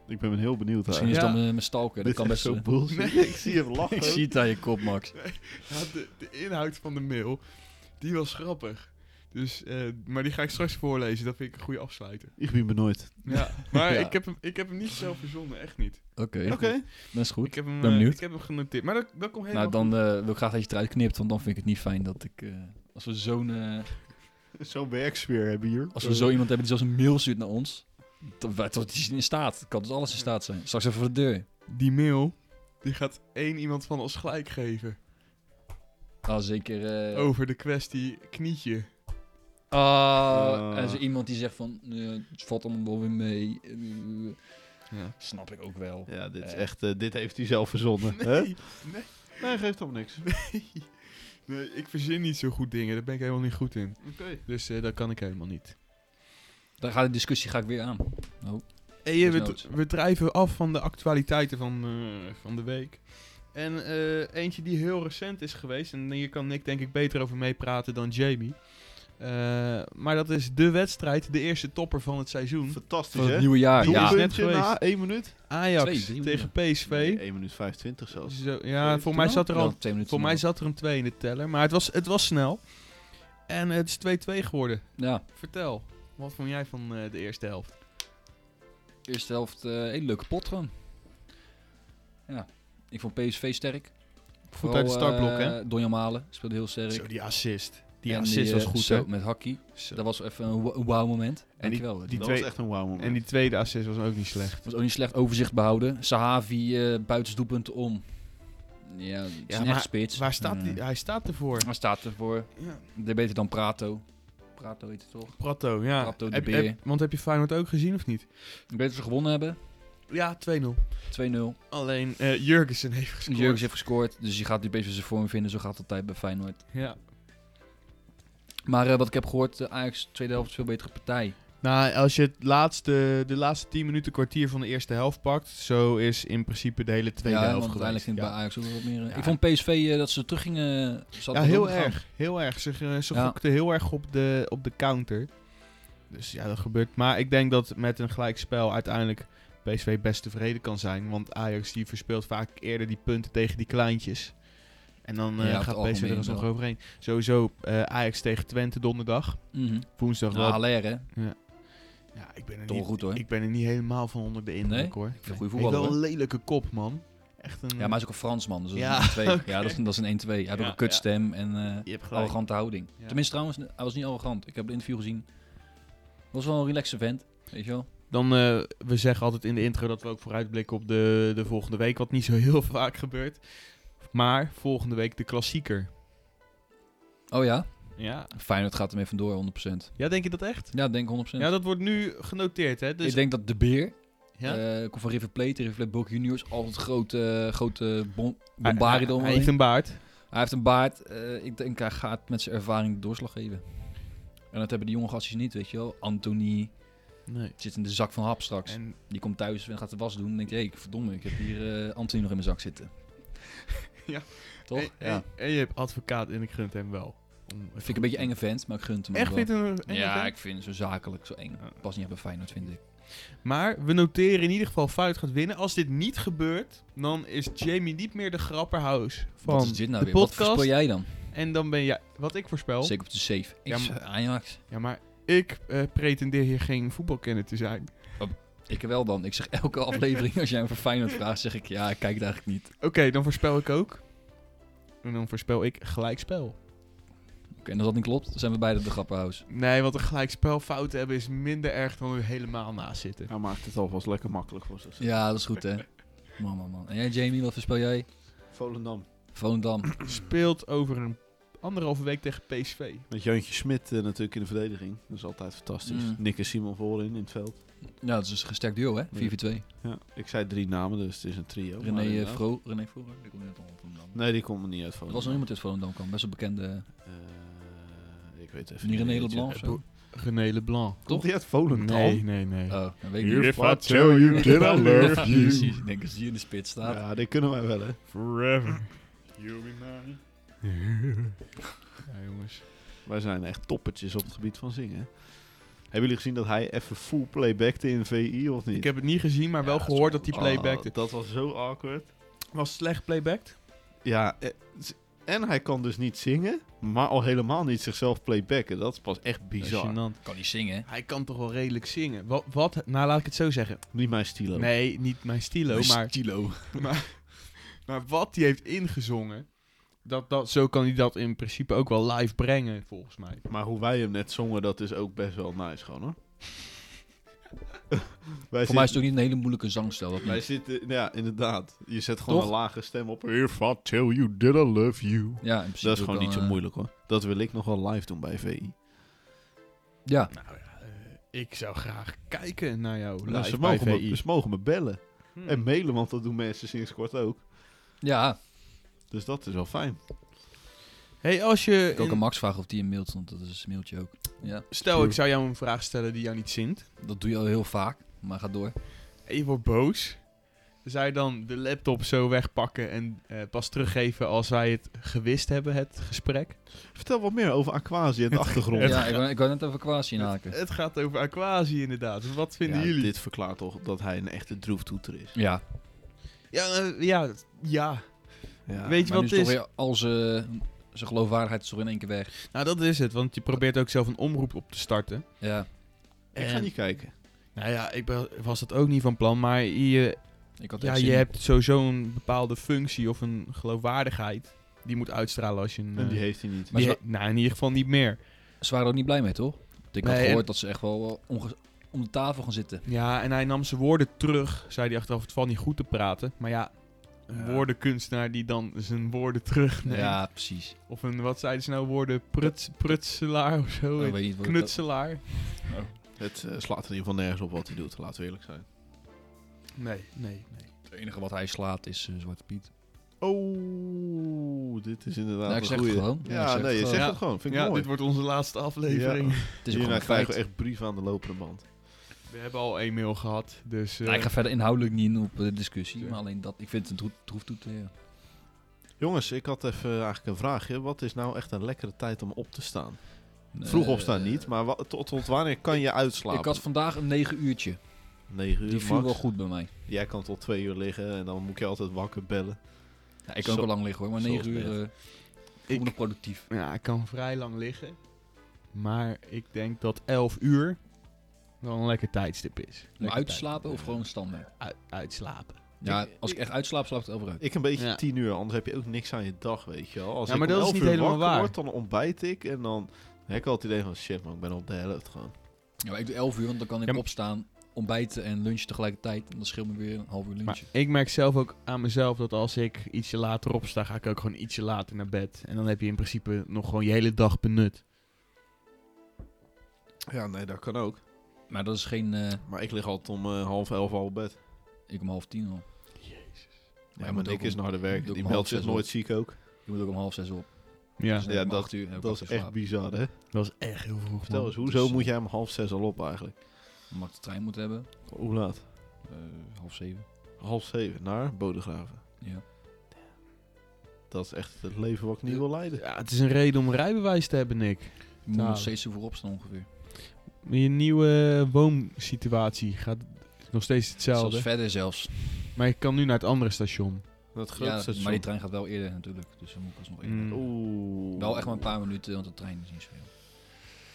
B: Ik ben heel benieuwd
C: Misschien
B: eigenlijk.
C: is het
A: Ja.
C: dan eh, mijn stalker. Dat
B: Dit
C: kan
B: is
C: best
B: zo
C: eh,
B: bullshit. Ik zie hem lachen.
C: Ik zie het aan je kop, Max.
A: Ja, de, de inhoud van de mail, die was grappig. Dus, eh, maar die ga ik straks voorlezen. Dat vind ik een goede afsluiter.
B: Ik ben benieuwd.
A: Ja, maar
C: Ja.
A: Ik, heb hem, ik heb hem niet zelf verzonnen. Echt niet.
C: Oké,
B: Oké.
C: dat is goed.
A: Ik heb hem,
C: ben
A: eh,
C: benieuwd.
A: ik heb hem genoteerd. Maar dat, dat komt helemaal
C: Nou, dan eh, wil ik graag dat je het eruit knipt, want dan vind ik het niet fijn dat ik... eh, als we zo'n eh,
B: Zo'n werksfeer hebben hier.
C: als we zo iemand hebben die zelfs een mail stuurt naar ons, dan wij- tot die is in staat. Het kan tot alles in staat zijn. Straks even voor de deur.
A: goed. Die mail, die gaat één iemand van ons gelijk geven.
C: Ah, zeker... eh,
A: Over de kwestie knietje.
C: Ah,
B: Ah.
C: en zo iemand die zegt van, eh, het valt allemaal wel weer mee. Eh,
A: Ja.
C: snap ik ook wel.
B: Ja, dit is
C: Eh.
B: echt... eh, dit heeft hij zelf verzonnen. hè?
A: Nee, nee,
B: Nee, geeft om niks.
A: nee, ik verzin niet zo goed dingen. Daar ben ik helemaal niet goed in.
B: Oké.
A: Dus eh, dat kan ik helemaal niet.
C: Daar gaat de discussie ga ik weer aan.
A: Hey, eh, we,
C: Desnoods.
A: we drijven af van de actualiteiten van, eh, van de week. En eh, eentje die heel recent is geweest. En hier kan Nick denk ik beter over meepraten dan Jamie. Eh, maar dat is de wedstrijd, de eerste topper van het seizoen.
B: Fantastisch,
C: Van het
B: hè?
C: nieuwe jaar,
A: Doelpunt.
C: ja.
A: Is
B: Doelpuntje
A: net geweest.
B: na 1 minuut.
A: Ajax
C: Twee, drie
A: tegen PSV.
B: Nee, 1 minuut 25 zelfs.
A: Zo, ja, voor mij zat er al
C: Nou, twee minuten
A: Voor mij
C: nog.
A: zat er een 2 in de teller, maar het was, het was snel. En het is 2-2 geworden.
C: Ja,
A: Vertel, wat vond jij van eh, de eerste helft?
C: eerste helft eh hele leuke pot gewoon. Ja, ik vond PSV sterk. Vooral,
A: uit het startblok,
C: eh,
A: hè?
C: Donjan Malen speelde heel sterk.
A: die assist. Die
C: En
A: assist
C: eh,
A: was goed,
C: zo,
A: hè?
C: Met Hakkie.
A: Zo.
C: Dat was even een wa- een wauw moment. En
A: die-
C: wel.
A: die
B: dat
A: twee-
B: was echt een wauw moment.
A: En die tweede assist was ook niet slecht.
C: was ook niet slecht overzicht behouden. Sahavi eh buitensdoepend om. Ja, het is
A: Ja,
C: een
A: maar
C: echt spits.
A: Waar staat
C: Mm.
A: die? Hij staat ervoor.
C: Hij staat ervoor.
A: Ja.
C: De beter dan Prato. Prato heet het toch?
A: Prato, ja.
C: Prato de
A: Heb-
C: Beer.
A: heb- want heb je Feyenoord ook gezien of niet?
C: Ik weet dat ze gewonnen hebben.
A: Ja, 2-0.
C: 2-0.
A: Alleen eh Jurgensen heeft gescoord.
C: Jurgens heeft gescoord. Dus je gaat nu best wel zijn vorm vinden. Zo gaat het altijd bij Feyenoord.
A: Ja.
C: Maar eh, wat ik heb gehoord, eh, Ajax tweede helft veel betere partij.
A: Nou, als je het laatste, de laatste 10 minuten kwartier van de eerste helft pakt, zo is in principe de hele tweede
C: ja,
A: helft
C: want
A: geweest.
C: uiteindelijk ging het
A: Ja.
C: bij Ajax ook wel wat meer. eh,
A: Ja.
C: Ik vond PSV eh, dat ze teruggingen. eh, ze
A: Ja,
C: hadden
A: heel
C: wel gaan.
A: erg. Heel erg. Ze, eh, ze
C: Ja.
A: gokten heel erg op de, op de counter. Dus ja, dat gebeurt. Maar ik denk dat met een gelijkspel uiteindelijk PSV best tevreden kan zijn. Want Ajax die verspeelt vaak eerder die punten tegen die kleintjes. En dan eh,
C: Ja, op het
A: gaat PSV
C: algemeen
A: er alsnog
C: wel.
A: overheen. Sowieso eh, Ajax tegen Twente donderdag.
C: Mhm.
A: Woensdag
C: Nou,
A: wel.
C: Haller, hè?
A: Ja, ik ben, er
C: Toch
A: niet,
C: goed, hoor.
A: ik ben er niet helemaal van onder de indruk
C: Nee?
A: hoor. Ik
C: vind een goede
A: wel
C: voetballer,
A: een lelijke kop man. Echt een...
C: Ja, maar hij is ook een Fransman. Dus dat is
A: Mhm. Ja,
C: een 1-2.
A: oké.
C: Ja, dat is, een- dat is een 1-2. Hij had
A: Ja,
C: ook een kutstem en eh,
A: Je hebt gelijk.
C: arrogante houding.
A: Ja.
C: Tenminste, trouwens, hij was niet arrogant. Ik heb het interview gezien. Was wel een relaxe vent, weet je wel.
A: Dan, eh, we zeggen altijd in de intro dat we ook vooruitblikken op de, de volgende week, wat niet zo heel vaak gebeurt. Maar volgende week de klassieker.
C: Oh ja?
A: Ja,
C: Feyenoord gaat ermee vandoor, 100%.
A: ja denk je dat echt?
C: Ja, ik denk 100%.
A: Ja, dat wordt nu genoteerd, hè? Dus,
C: Ik denk dat De Beer,
A: ja?
C: eh, komt van River Plate, River Plate Boca Juniors, altijd grote, grote bon
A: hij,
C: bombarie
A: hij
C: eromheen.
A: heeft een baard.
C: Hij heeft een baard. eh, ik denk, hij gaat met zijn ervaring de doorslag geven. En dat hebben die jonge gastjes niet, weet je wel. Anthony
A: Nee.
C: zit in de zak van Hap straks.
A: En
C: Die komt thuis en gaat de was doen. En denkt, hé, hey, verdomme, ik heb hier eh, Anthony nog in mijn zak zitten.
A: Ja.
C: Toch?
A: En,
C: ja.
A: en, en je hebt advocaat en ik gunt hem wel. Om-
C: Vind ik een beetje enge vent, maar ik gunt hem
A: Echt
C: ook
A: vind
C: wel.
A: je het een enge
C: Ja,
A: vent?
C: ik vind hem zo zakelijk, zo eng.
A: Ja.
C: Pas niet bij Feyenoord, vind ik.
A: Maar we noteren in ieder geval Feyenoord gaat winnen. Als dit niet gebeurt, dan is Jamie niet meer de grapperhuis van
C: Wat is dit nou
A: de
C: weer? Wat
A: podcast.
C: voorspel jij dan?
A: En dan ben jij... Wat ik voorspel...
C: Zeker op de safe. Ik
A: Oh. Ja, maar-
C: zeg Ajax.
A: Ja, maar ik eh, pretendeer hier geen voetbalkenner te zijn.
C: Ik wel dan. Ik zeg elke aflevering als jij me voor Feyenoord vraagt, zeg ik ja, ik kijk het eigenlijk niet.
A: Oké, dan voorspel ik ook. En dan voorspel ik gelijkspel.
C: Oké, en als dat niet klopt, dan zijn we beide op de grappenhuis.
A: Nee, want een gelijkspel fout hebben is minder erg dan er helemaal naast zitten.
B: Hij maakt het alvast lekker makkelijk voor zichzelf.
C: Ja, dat is goed hè. Man, man, man. En jij Jamie, wat voorspel jij?
B: Volendam.
C: Volendam.
A: Speelt over een, anderhalve week tegen PSV.
B: Met Jantje Smit eh, natuurlijk in de verdediging. Dat is altijd fantastisch.
C: Mm.
B: Nick en Simon voorin in het veld.
C: Ja, dat is een gesterkt duo, hè? 4-4-2.
B: Ja. Ik zei drie namen, dus het is een trio. maar
C: René eh,
B: inderdaad.
C: Fro... René Vroeger? Die komt net al van Dam.
B: Nee, die komt er niet uit van.
C: Er was nog iemand uit Volendam kwam. Best wel bekende...
B: Eh, ik weet even
C: Niet René
B: wie het
C: Leblanc
B: is.
C: of zo?
A: René Leblanc.
B: Komt die uit Volendam?
A: Nee, nee, nee.
C: Oh, dat weet ik niet.
A: If I tell you that I love you
C: Precies, ik denk als die in de spits staat.
B: Ja, die kunnen wij wel, hè.
A: forever. You'll be mine. Eh. ja, jongens.
B: Wij zijn echt toppertjes op het gebied van zingen. hè. Hebben jullie gezien dat hij even full playbackte in VI, of niet?
A: Ik heb het niet gezien, maar wel
C: Ja, dat is
A: gehoord
C: wel-
A: dat hij
B: Oh,
A: playbackte.
B: dat was zo awkward.
A: Was slecht playbacked?
B: Ja, eh, z- en hij kan dus niet zingen, maar al helemaal niet zichzelf playbacken. Dat is pas echt bizar.
A: Gênant.
C: Kan niet zingen, hè?
A: Hij kan toch wel redelijk zingen. Wat, wat? Nou, laat ik het zo zeggen.
B: Niet mijn stilo.
A: Nee, niet mijn stilo, maar,
C: Stilo.
A: maar wat hij heeft ingezongen. Dat, dat, zo kan hij dat in principe ook wel live brengen, volgens mij.
B: Maar hoe wij hem net zongen, dat is ook best wel nice gewoon, hoor. wij
C: Voor mij is het ook niet een hele moeilijke zangstijl. Dat
B: Wij
C: niet.
B: zitten, ja, inderdaad. Je zet gewoon
C: Toch?
B: een lage stem op. If I tell you that I love you.
C: Ja, in principe
B: Dat is gewoon
C: dan,
B: niet zo
C: eh,
B: moeilijk hoor. Dat wil ik nog wel live doen bij VI.
C: Ja,
A: Nou ja, eh, ik zou graag kijken naar jou
B: Nou,
A: live
B: ze,
A: bij
B: mogen
A: VI.
B: me, ze mogen me bellen.
A: Hmm.
B: En mailen, want dat doen mensen sinds kort ook.
C: ja.
B: Dus dat is wel fijn.
A: hey, als je...
C: Ik ook
A: in-
C: aan Max vragen of die een mailt, want dat is een mailtje ook. Ja,
A: Stel, ik zou jou een vraag stellen die jou niet zint.
C: dat doe je al heel vaak, maar ga door.
A: En je wordt boos. Zou je dan de laptop zo wegpakken en eh, pas teruggeven als wij het gewist hebben, het gesprek?
B: Vertel wat meer over Aquasi en de achtergrond.
C: Ja, ik wou, ik wou net even Kwasi inhaken.
A: Het, het gaat over Aquasi inderdaad. Dus Wat vinden
B: Ja,
A: jullie?
B: Dit verklaart toch dat hij een echte droeftoeter is.
C: Ja,
A: Ja, eh, ja, ja.
B: Ja.
A: Weet je
C: maar
A: wat het
C: nu is toch
A: is?
C: weer al zijn zijn geloofwaardigheid is toch in één keer weg.
A: Nou, dat is het. Want je probeert ook zelf een omroep op te starten.
C: Ja,
B: Ik ga
C: eh,
A: En-
B: niet kijken.
A: Nou ja, ik ben- was dat ook niet van plan. Maar je,
C: ik had
A: ja,
C: echt zin
A: je
C: in.
A: hebt sowieso een bepaalde functie of een geloofwaardigheid. Die moet uitstralen als je een...
B: En
A: eh,
B: die heeft hij niet.
C: Maar
A: die
C: ze-
A: he- nou, in ieder geval niet meer.
C: Ze waren er ook niet blij mee, toch? Want Ik had
A: Nee, en-
C: gehoord dat ze echt wel eh, onge- om de tafel gaan zitten.
A: Ja, en hij nam zijn woorden terug, zei hij achteraf. Het valt niet goed te praten. Maar ja, een
B: Ja.
A: woordenkunstenaar die dan zijn woorden terugneemt.
C: Ja, precies.
A: Of een, wat zeiden ze nou, woorden pruts, prutselaar of zo.
C: ik weet niet wat ik-
A: Knutselaar.
B: Het eh, slaat er in ieder geval nergens op wat hij doet, laten we eerlijk zijn.
A: Nee, nee, nee.
C: Het enige wat hij slaat is eh, Zwarte Piet.
B: Oh, dit is inderdaad
C: Nou, ik
B: een
C: zeg het
B: goeie.
C: gewoon. Ja, ik
B: Ja,
C: zeg
B: nee,
C: het
B: je
C: gewoon.
B: zegt het
A: Ja.
B: gewoon. Vind ik
A: Ja,
B: mooi.
A: dit wordt onze laatste aflevering.
C: Het is ook gewoon
B: Hierna
C: een
B: krijgen we
C: feit.
B: echt brieven aan de lopende band.
A: We hebben al één mail gehad, dus... eh,
C: Nou, ik ga verder inhoudelijk niet in op eh, de discussie,
A: Ja.
C: maar alleen dat, ik vind het een droeftoeter, ja.
B: Jongens, ik had even eh, eigenlijk een vraagje. Wat is nou echt een lekkere tijd om op te staan? Vroeg opstaan
C: Eh,
B: niet, maar wa- tot, tot wanneer kan je uitslapen?
C: Ik had vandaag een 9 uurtje.
B: 9 uur
C: Die viel
B: max.
C: wel goed bij mij.
B: Jij kan tot 2 uur liggen en dan moet je altijd wakker bellen.
C: Ja, ik kan ook
B: Zo-
C: wel lang liggen hoor, maar 9
B: zoals
C: uur
B: net.
C: eh, voel ik nog productief.
A: Ja, ik kan vrij lang liggen. Maar ik denk dat 11 uur wel een lekker tijdstip is.
C: Om
A: Lekker
C: uit te
A: tijd.
C: slapen of gewoon standaard?
A: Uit- uitslapen.
C: Ja, als ik echt uitslaap, slaap ik het over uit.
B: Ik een beetje
A: Ja.
B: 10 uur, anders heb je ook niks aan je dag, weet je wel. Als
A: Ja, maar
B: ik om
A: dat is
B: 11
A: niet
B: uur
A: helemaal
B: wakker
A: waar.
B: word, dan ontbijt ik en dan heb ik al het idee van shit man, ik ben op de helft gewoon.
C: Ja, maar ik doe 11 uur, want dan kan ik
A: Ja, maar-
C: opstaan, ontbijten en lunchen tegelijkertijd. En dan scheelt me weer een half uur
A: Maar
C: lunch.
A: ik merk zelf ook aan mezelf dat als ik ietsje later opsta, ga ik ook gewoon ietsje later naar bed. En dan heb je in principe nog gewoon je hele dag benut.
B: Ja, nee, dat kan ook.
C: Maar, dat is geen... eh,
B: Maar ik lig altijd om eh, half elf al op bed.
C: ik om half tien al.
B: Ja,
C: je
B: maar
C: moet
B: Nick
C: ook
B: is
C: om-
B: een harde
C: moet
B: werk.
C: ook
B: Die
C: om
B: meldt
C: half
B: zich
C: zes
B: nooit ziek ook.
C: Je moet ook om half zes op.
A: Ja,
C: Dus dan
B: Ja,
C: om
B: dat-
C: acht uur heb ik
B: Dat
C: acht
B: is
C: uur
B: echt
C: slaap.
B: bizar, hè?
A: dat was echt heel vroeg.
B: Vertel
A: man.
B: eens, hoezo
C: dus,
B: moet
C: eh,
B: jij hem half zes al op eigenlijk?
C: Omdat ik de trein moet hebben.
B: Hoe laat?
C: eh, half zeven.
B: Half zeven naar Bodegraven.
C: Ja.
B: Dat is echt het leven wat ik niet wil leiden.
A: Ja, het is een reden om rijbewijs te hebben, Nick.
C: Ik moet nog
A: Nou.
C: steeds zo voor opstaan ongeveer.
A: Je nieuwe woonsituatie gaat is nog steeds
C: Zelfs
A: hetzelfde.
C: verder zelfs.
A: Maar ik kan nu naar het andere station.
B: Dat
C: Ja,
B: grootste
C: maar die trein gaat wel eerder natuurlijk. Dus dan moet ik alsnog eerder.
A: Mm.
B: Oeh.
C: Wel echt maar een paar minuten, want de trein is niet zo heel.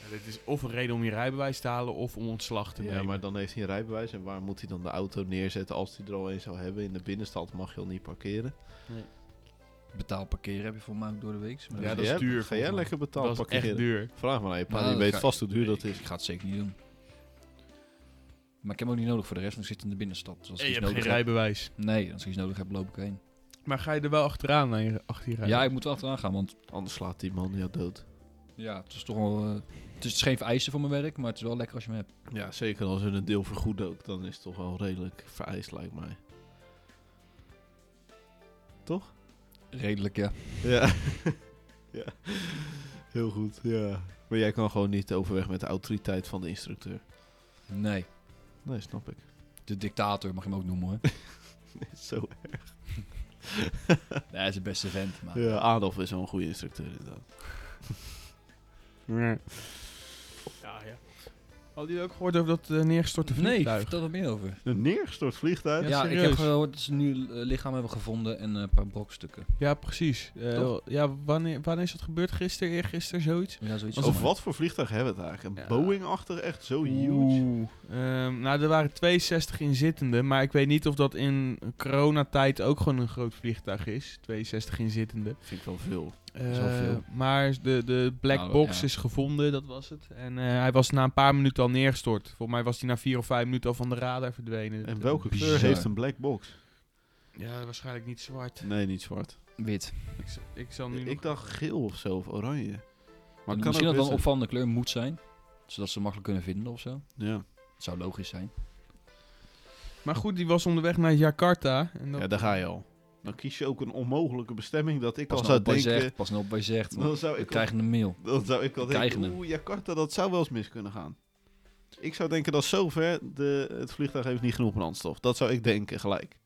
A: Ja, dit is of een reden om je rijbewijs te halen of om ontslag te
B: Ja,
A: nemen.
B: maar dan heeft hij een rijbewijs. En waar moet hij dan de auto neerzetten als hij er al een zou hebben? In de binnenstad mag je al niet parkeren.
C: Betaald parkeren heb je voor mij ook door de week. maar
A: Ja,
C: dat-
A: dat is
B: Jij-
A: duur,
B: Ga jij
A: volgens mij.
B: lekker betaald
A: dat is echt
B: parkeren?
A: duur.
B: Vraag maar aan je pa,
C: Nou,
B: die
C: dat
B: weet
C: ga-
B: vast hoe duur dat
C: ik,
B: is.
C: ik ga het zeker niet doen. Maar ik heb hem ook niet nodig voor de rest, want ik zit in de binnenstad. Dus als ik
A: En je
C: iets
A: hebt geen
C: nodig heb,
A: rijbewijs.
C: nee, als ik iets nodig heb, loop ik heen.
A: Maar ga je er wel achteraan naar je, achter je rijden?
C: Ja, ik moet wel achteraan gaan, want
B: Anders slaat die man jou dood.
C: ja, het is toch wel... eh, het is geen vereiste voor mijn werk, maar het is wel lekker als je hem hebt.
B: Ja, zeker als er een deel vergoed ook. Dan is het toch wel redelijk vereist, lijkt mij. Toch?
C: Redelijk, ja.
B: Ja. ja. Heel goed, ja. Maar jij kan gewoon niet overweg met de autoriteit van de instructeur.
C: Nee,
B: Nee, snap ik.
C: de dictator mag je hem ook noemen, hoor.
B: Zo.
C: nee, hij is de beste vent, maar...
B: Ja, Adolf is wel een goede instructeur, inderdaad.
A: ja, ja. Hadden jullie ook gehoord over dat eh, neergestorte
C: Nee,
A: vliegtuig?
C: vertel er meer over.
B: Een neergestort vliegtuig?
C: Ja, ik
A: serieus.
C: heb gehoord dat ze nu eh, lichaam hebben gevonden en eh, een paar brokstukken.
A: Ja, precies. Eh,
C: Toch?
A: ja, wanneer, wanneer is dat gebeurd? Gisteren, eergisteren, zoiets?
C: Ja, zoiets.
B: Of wat voor vliegtuig hebben we het eigenlijk? Een
A: Ja.
B: Boeing-achtig, echt zo huge?
A: Ehm, nou, er waren 62 inzittenden, maar ik weet niet of dat in coronatijd ook gewoon een groot vliegtuig is. 62 inzittenden.
B: Vind ik wel veel.
A: Eh,
C: is al veel.
A: Maar de, de black
C: Nou,
A: box
C: ja.
A: is gevonden, dat was het. En eh, hij was na een paar minuten al neergestort. Volgens mij was hij na vier of vijf minuten al van de radar verdwenen.
B: En welke
C: bizar.
B: kleur heeft een black box?
A: Ja, waarschijnlijk niet zwart.
B: Nee, niet zwart.
C: Wit.
A: Ik, z- ik zal nu
B: Ik
A: nog...
B: dacht geel of zo, of oranje. Maar het kan ook
C: Misschien dat
B: wit
C: het een
B: zijn.
C: opvallende kleur moet zijn, zodat ze makkelijk kunnen vinden of zo.
B: Ja.
C: Het zou logisch zijn.
A: Maar goed, die was onderweg naar Jakarta. En dat-
B: ja, daar ga je al. Dan kies je ook een onmogelijke bestemming dat ik
C: Pas
B: al
C: nou
B: zou
C: op wat je
B: denken...
C: zegt, pas nou op wat je zegt.
B: Dan zou
C: We
B: ik,
C: krijgen een mail.
B: al, dan zou ik al
C: we krijgen
B: denken,
C: hem.
B: oeh, Jakarta, dat zou wel eens mis kunnen gaan. Ik zou denken dat zover de, het vliegtuig heeft niet genoeg brandstof. Dat zou ik denken gelijk.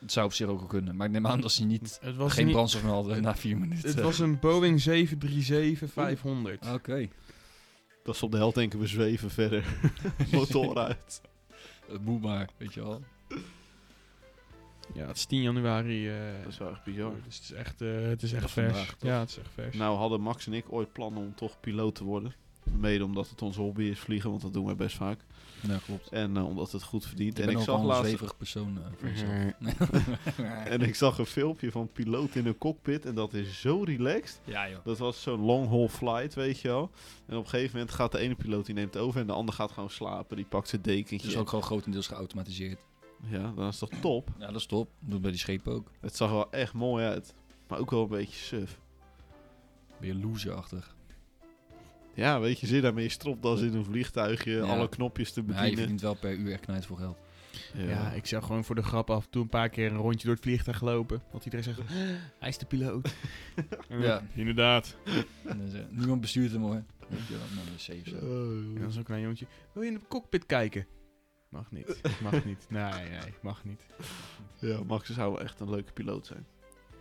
C: Het zou op zich ook wel kunnen, maar ik neem aan dat ze niet,
A: het was
C: geen
A: niet-
C: brandstof meer hadden na vier minuten.
A: Het was een Boeing 737-500.
C: Oké.
B: Dat is op de hel denken, we zweven verder. Motor uit.
C: Het moet maar, weet je wel.
A: Ja, het is 10 januari. eh,
B: Dat is wel echt bizar.
A: dus het is echt, eh, het is echt
C: Dat
A: vers.
C: vandaag, toch?
A: ja, het is echt vers.
B: Nou hadden Max en ik ooit plannen om toch piloot te worden. Mede omdat het onze hobby is vliegen, want dat doen wij best vaak.
C: Nou, klopt.
B: En eh, omdat het goed verdient.
C: ik
B: en,
C: ben
B: ik
C: ook
B: zag
C: wel een
B: laatst,
C: zweverig persoon eh,
A: Mhm.
C: voor mezelf.
B: en ik zag een filmpje van piloot in een cockpit. En dat is zo relaxed.
C: Ja joh.
B: Dat was zo'n long haul flight, weet je wel. En op een gegeven moment gaat de ene piloot, die neemt over. En de ander gaat gewoon slapen. Die pakt zijn
C: Het
B: dekentje.
C: is ook gewoon grotendeels geautomatiseerd.
B: Ja, dat is toch top.
C: Ja, dat is top. Dat doet bij die schepen ook.
B: Het zag er wel echt mooi uit. Maar ook wel een beetje suf.
C: Weer loserachtig.
B: Ja, weet je, zit daar met je stropdas in een vliegtuigje. Alle knopjes te
C: Maar je
B: bedienen.
C: verdient wel per uur echt knijt voor geld.
A: ja. ik zou gewoon voor de grap af en toe een paar keer een rondje door het vliegtuig lopen. Dat iedereen zegt, "Ah, hij is de piloot. En dan-
C: Ja.
A: inderdaad.
C: En dan zeggen, niemand bestuurt hem hoor. Weet je wel, nou, dat is safe zo.
B: Oh,
A: En dan zo'n klein jongetje, wil je in de cockpit kijken? Mag niet, mag niet. Nee, nee, mag niet.
B: Ja, Max zou wel echt een leuke piloot zijn.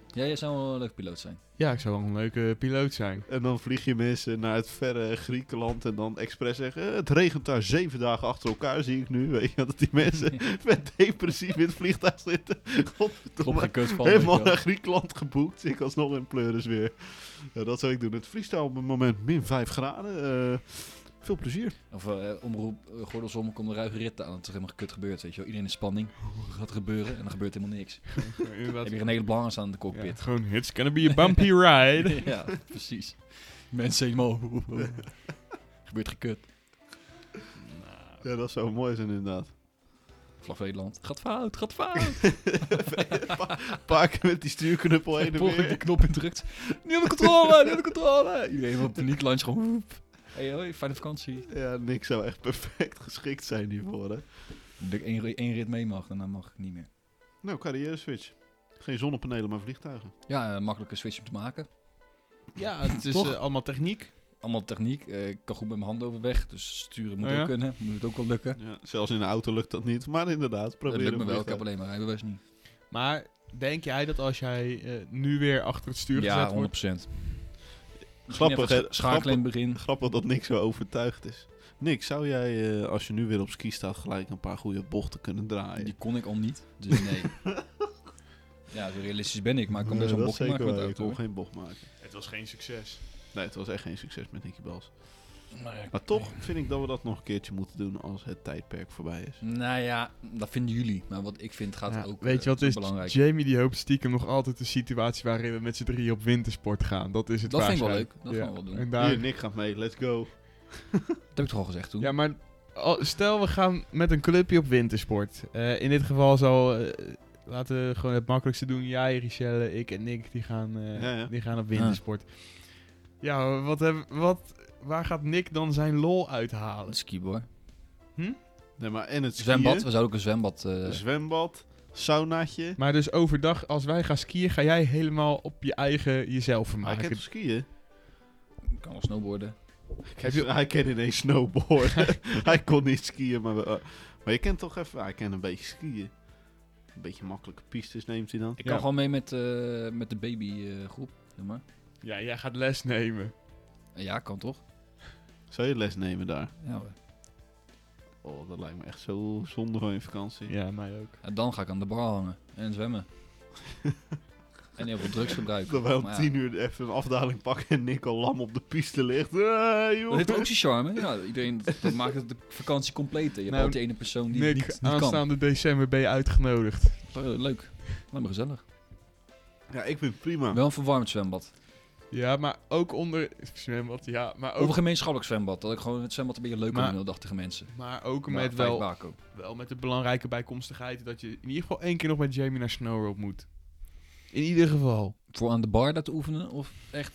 C: Ja, jij zou wel een leuk piloot zijn.
A: Ja, ik zou wel een leuke piloot zijn.
B: En dan vlieg je mensen naar het verre Griekenland en dan expres zeggen... "Eh, Het regent daar zeven dagen achter elkaar, zie ik nu. Weet je, wel, dat die mensen met depressief in het vliegtuig zitten.
C: Op
B: Godverdomme.
C: geen kut van.
B: Helemaal naar Griekenland geboekt. Ik alsnog in pleuris weer. Ja, dat zou ik doen. Het vriest daar op het moment min 5 graden. Eh, veel plezier.
C: Of eh, omroep, eh, gordelsom, komt de ruige rit aan. Dat is helemaal kut gebeurd, weet je wel. Iedereen in spanning. Wat gaat er gebeuren? En dan gebeurt helemaal niks. Dan
A: Inderdaad.
C: heb je een hele belangrijke aan de
A: Ja,
C: cockpit.
A: gewoon, it's gonna be a bumpy ride.
C: ja, precies. Mensen helemaal... gebeurt gekut.
B: Ja, dat zou mooi zijn inderdaad.
C: Vlag Nederland. Gaat fout, gaat fout.
B: Een paar keer met die stuurknuppel heen en
C: Volgende
B: weer.
C: knop indrukt. Nu aan de controle, nu aan de controle. Iedereen helemaal op paniek lunch gewoon... woep. Hey, hoi, fijne vakantie.
B: Ja, niks zou echt perfect geschikt zijn hiervoor. Hè.
C: Dat ik één, ri- één rit mee mag, daarna mag ik niet meer.
B: Nou, carrière switch. Geen zonnepanelen, maar vliegtuigen.
C: Ja, een makkelijke switch om te maken.
A: Ja, het is
C: Toch?
A: eh, allemaal techniek.
C: Allemaal techniek. Eh, ik kan goed met mijn handen overweg. Dus sturen moet
A: Oh ja?
C: ook kunnen. Moet het ook wel lukken.
B: Ja, zelfs in de auto lukt dat niet, maar inderdaad,
C: Dat
B: probeer
C: lukt me
B: hem
C: wel. Ik
B: weer
C: heb
B: te-
C: alleen maar rijbewijs niet.
A: Maar denk jij dat als jij eh, nu weer achter het stuur gezet wordt...
B: Grappig,
C: Grappig,
B: hè?
C: Schakelen in het begin.
B: Grappig dat Nick zo overtuigd is. Nick, zou jij, eh, als je nu weer op ski staat, gelijk een paar goede bochten kunnen draaien?
C: Die kon ik al niet. Dus nee. ja, zo realistisch ben ik. Maar ik kan best wel dus een
B: dat is zeker
C: bochtje maken met de
B: waar, ik
C: auto.
B: kon geen bocht maken.
A: Het was geen succes.
B: Nee, het was echt geen succes met Nicky Bals.
C: hoor. Nou ja,
B: Maar toch vind ik dat we dat nog een keertje moeten doen als het tijdperk voorbij is.
C: Nou ja, dat vinden jullie. Maar wat ik vind gaat
A: Ja,
C: ook
A: weet je wat
C: eh,
A: is?
C: belangrijk.
A: Jamie die hoopt stiekem nog altijd de situatie waarin we met z'n drieën op wintersport gaan. Dat is het
C: Dat vind ik wel
A: waarschijnlijk.
C: leuk. Dat gaan we wel doen.
A: En daar-
B: Hier, Nick gaat mee, let's go.
C: dat heb ik toch al gezegd toen.
A: ja, maar al- stel we gaan met een clubje op wintersport. Eh, in dit geval zal eh, Laten we gewoon het makkelijkste doen. Jij, Richelle, ik en Nick, die gaan, eh,
B: Ja, ja.
A: Die gaan op wintersport. Ja, wat heb, wat, waar gaat Nick dan zijn lol uithalen?
C: Het skiboard.
B: Nee, maar en het skiën,
C: Zwembad, we zouden ook een zwembad... eh,
A: Dus-
B: zwembad, saunaatje.
A: Maar dus overdag, als wij gaan skiën, ga jij helemaal op je eigen jezelf
B: Maar Ah, ik
A: vermaken.
B: heb toch skiën?
C: kan wel snowboarden.
A: Heb je-
B: Hij kan ineens snowboarden. hij kon niet skiën, maar, we- eh, maar je kent toch even... Hij kan een beetje skiën. Een beetje makkelijke pistes neemt hij dan.
C: Ik kan
A: Ja.
C: gewoon mee met, eh, met de babygroep, zeg maar.
A: Ja, jij gaat les nemen.
C: Ja, kan toch?
B: Zou je les nemen daar?
C: Ja, hoor.
B: Oh, dat lijkt me echt zo zonde van je vakantie.
A: Ja, mij ook.
C: En dan ga ik aan de bar hangen en zwemmen. en heel veel drugs gebruiken.
B: Terwijl om
C: Maar ja,
B: tien uur even een afdaling pakken en Nick al lam op de piste ligt. Eh,
C: Dat
B: joh.
C: heeft ook zijn charme. Ja, iedereen, dat maakt het de vakantie compleet. hè. Je hebt
A: Nou,
C: altijd die ene persoon die het
A: Nick,
C: niet, niet kan.
A: aanstaande december ben je uitgenodigd.
C: Eh, leuk. Lijkt me gezellig.
B: Ja, ik vind het prima.
C: Wel een verwarmd zwembad.
A: Ja, maar ook onder... Zwembad, ja. Maar
C: Of een
A: ook,
C: gemeenschappelijk zwembad. Dat ik gewoon het zwembad een beetje leuker
A: Maar-
C: wil, dachten mensen.
A: maar ook
C: Maar
A: met
C: vijf
A: wel,
C: bako.
A: wel met de belangrijke bijkomstigheid... dat je in ieder geval één keer nog met Jamie naar Snowrope moet. In ieder geval.
C: Voor aan de bar dat te oefenen of echt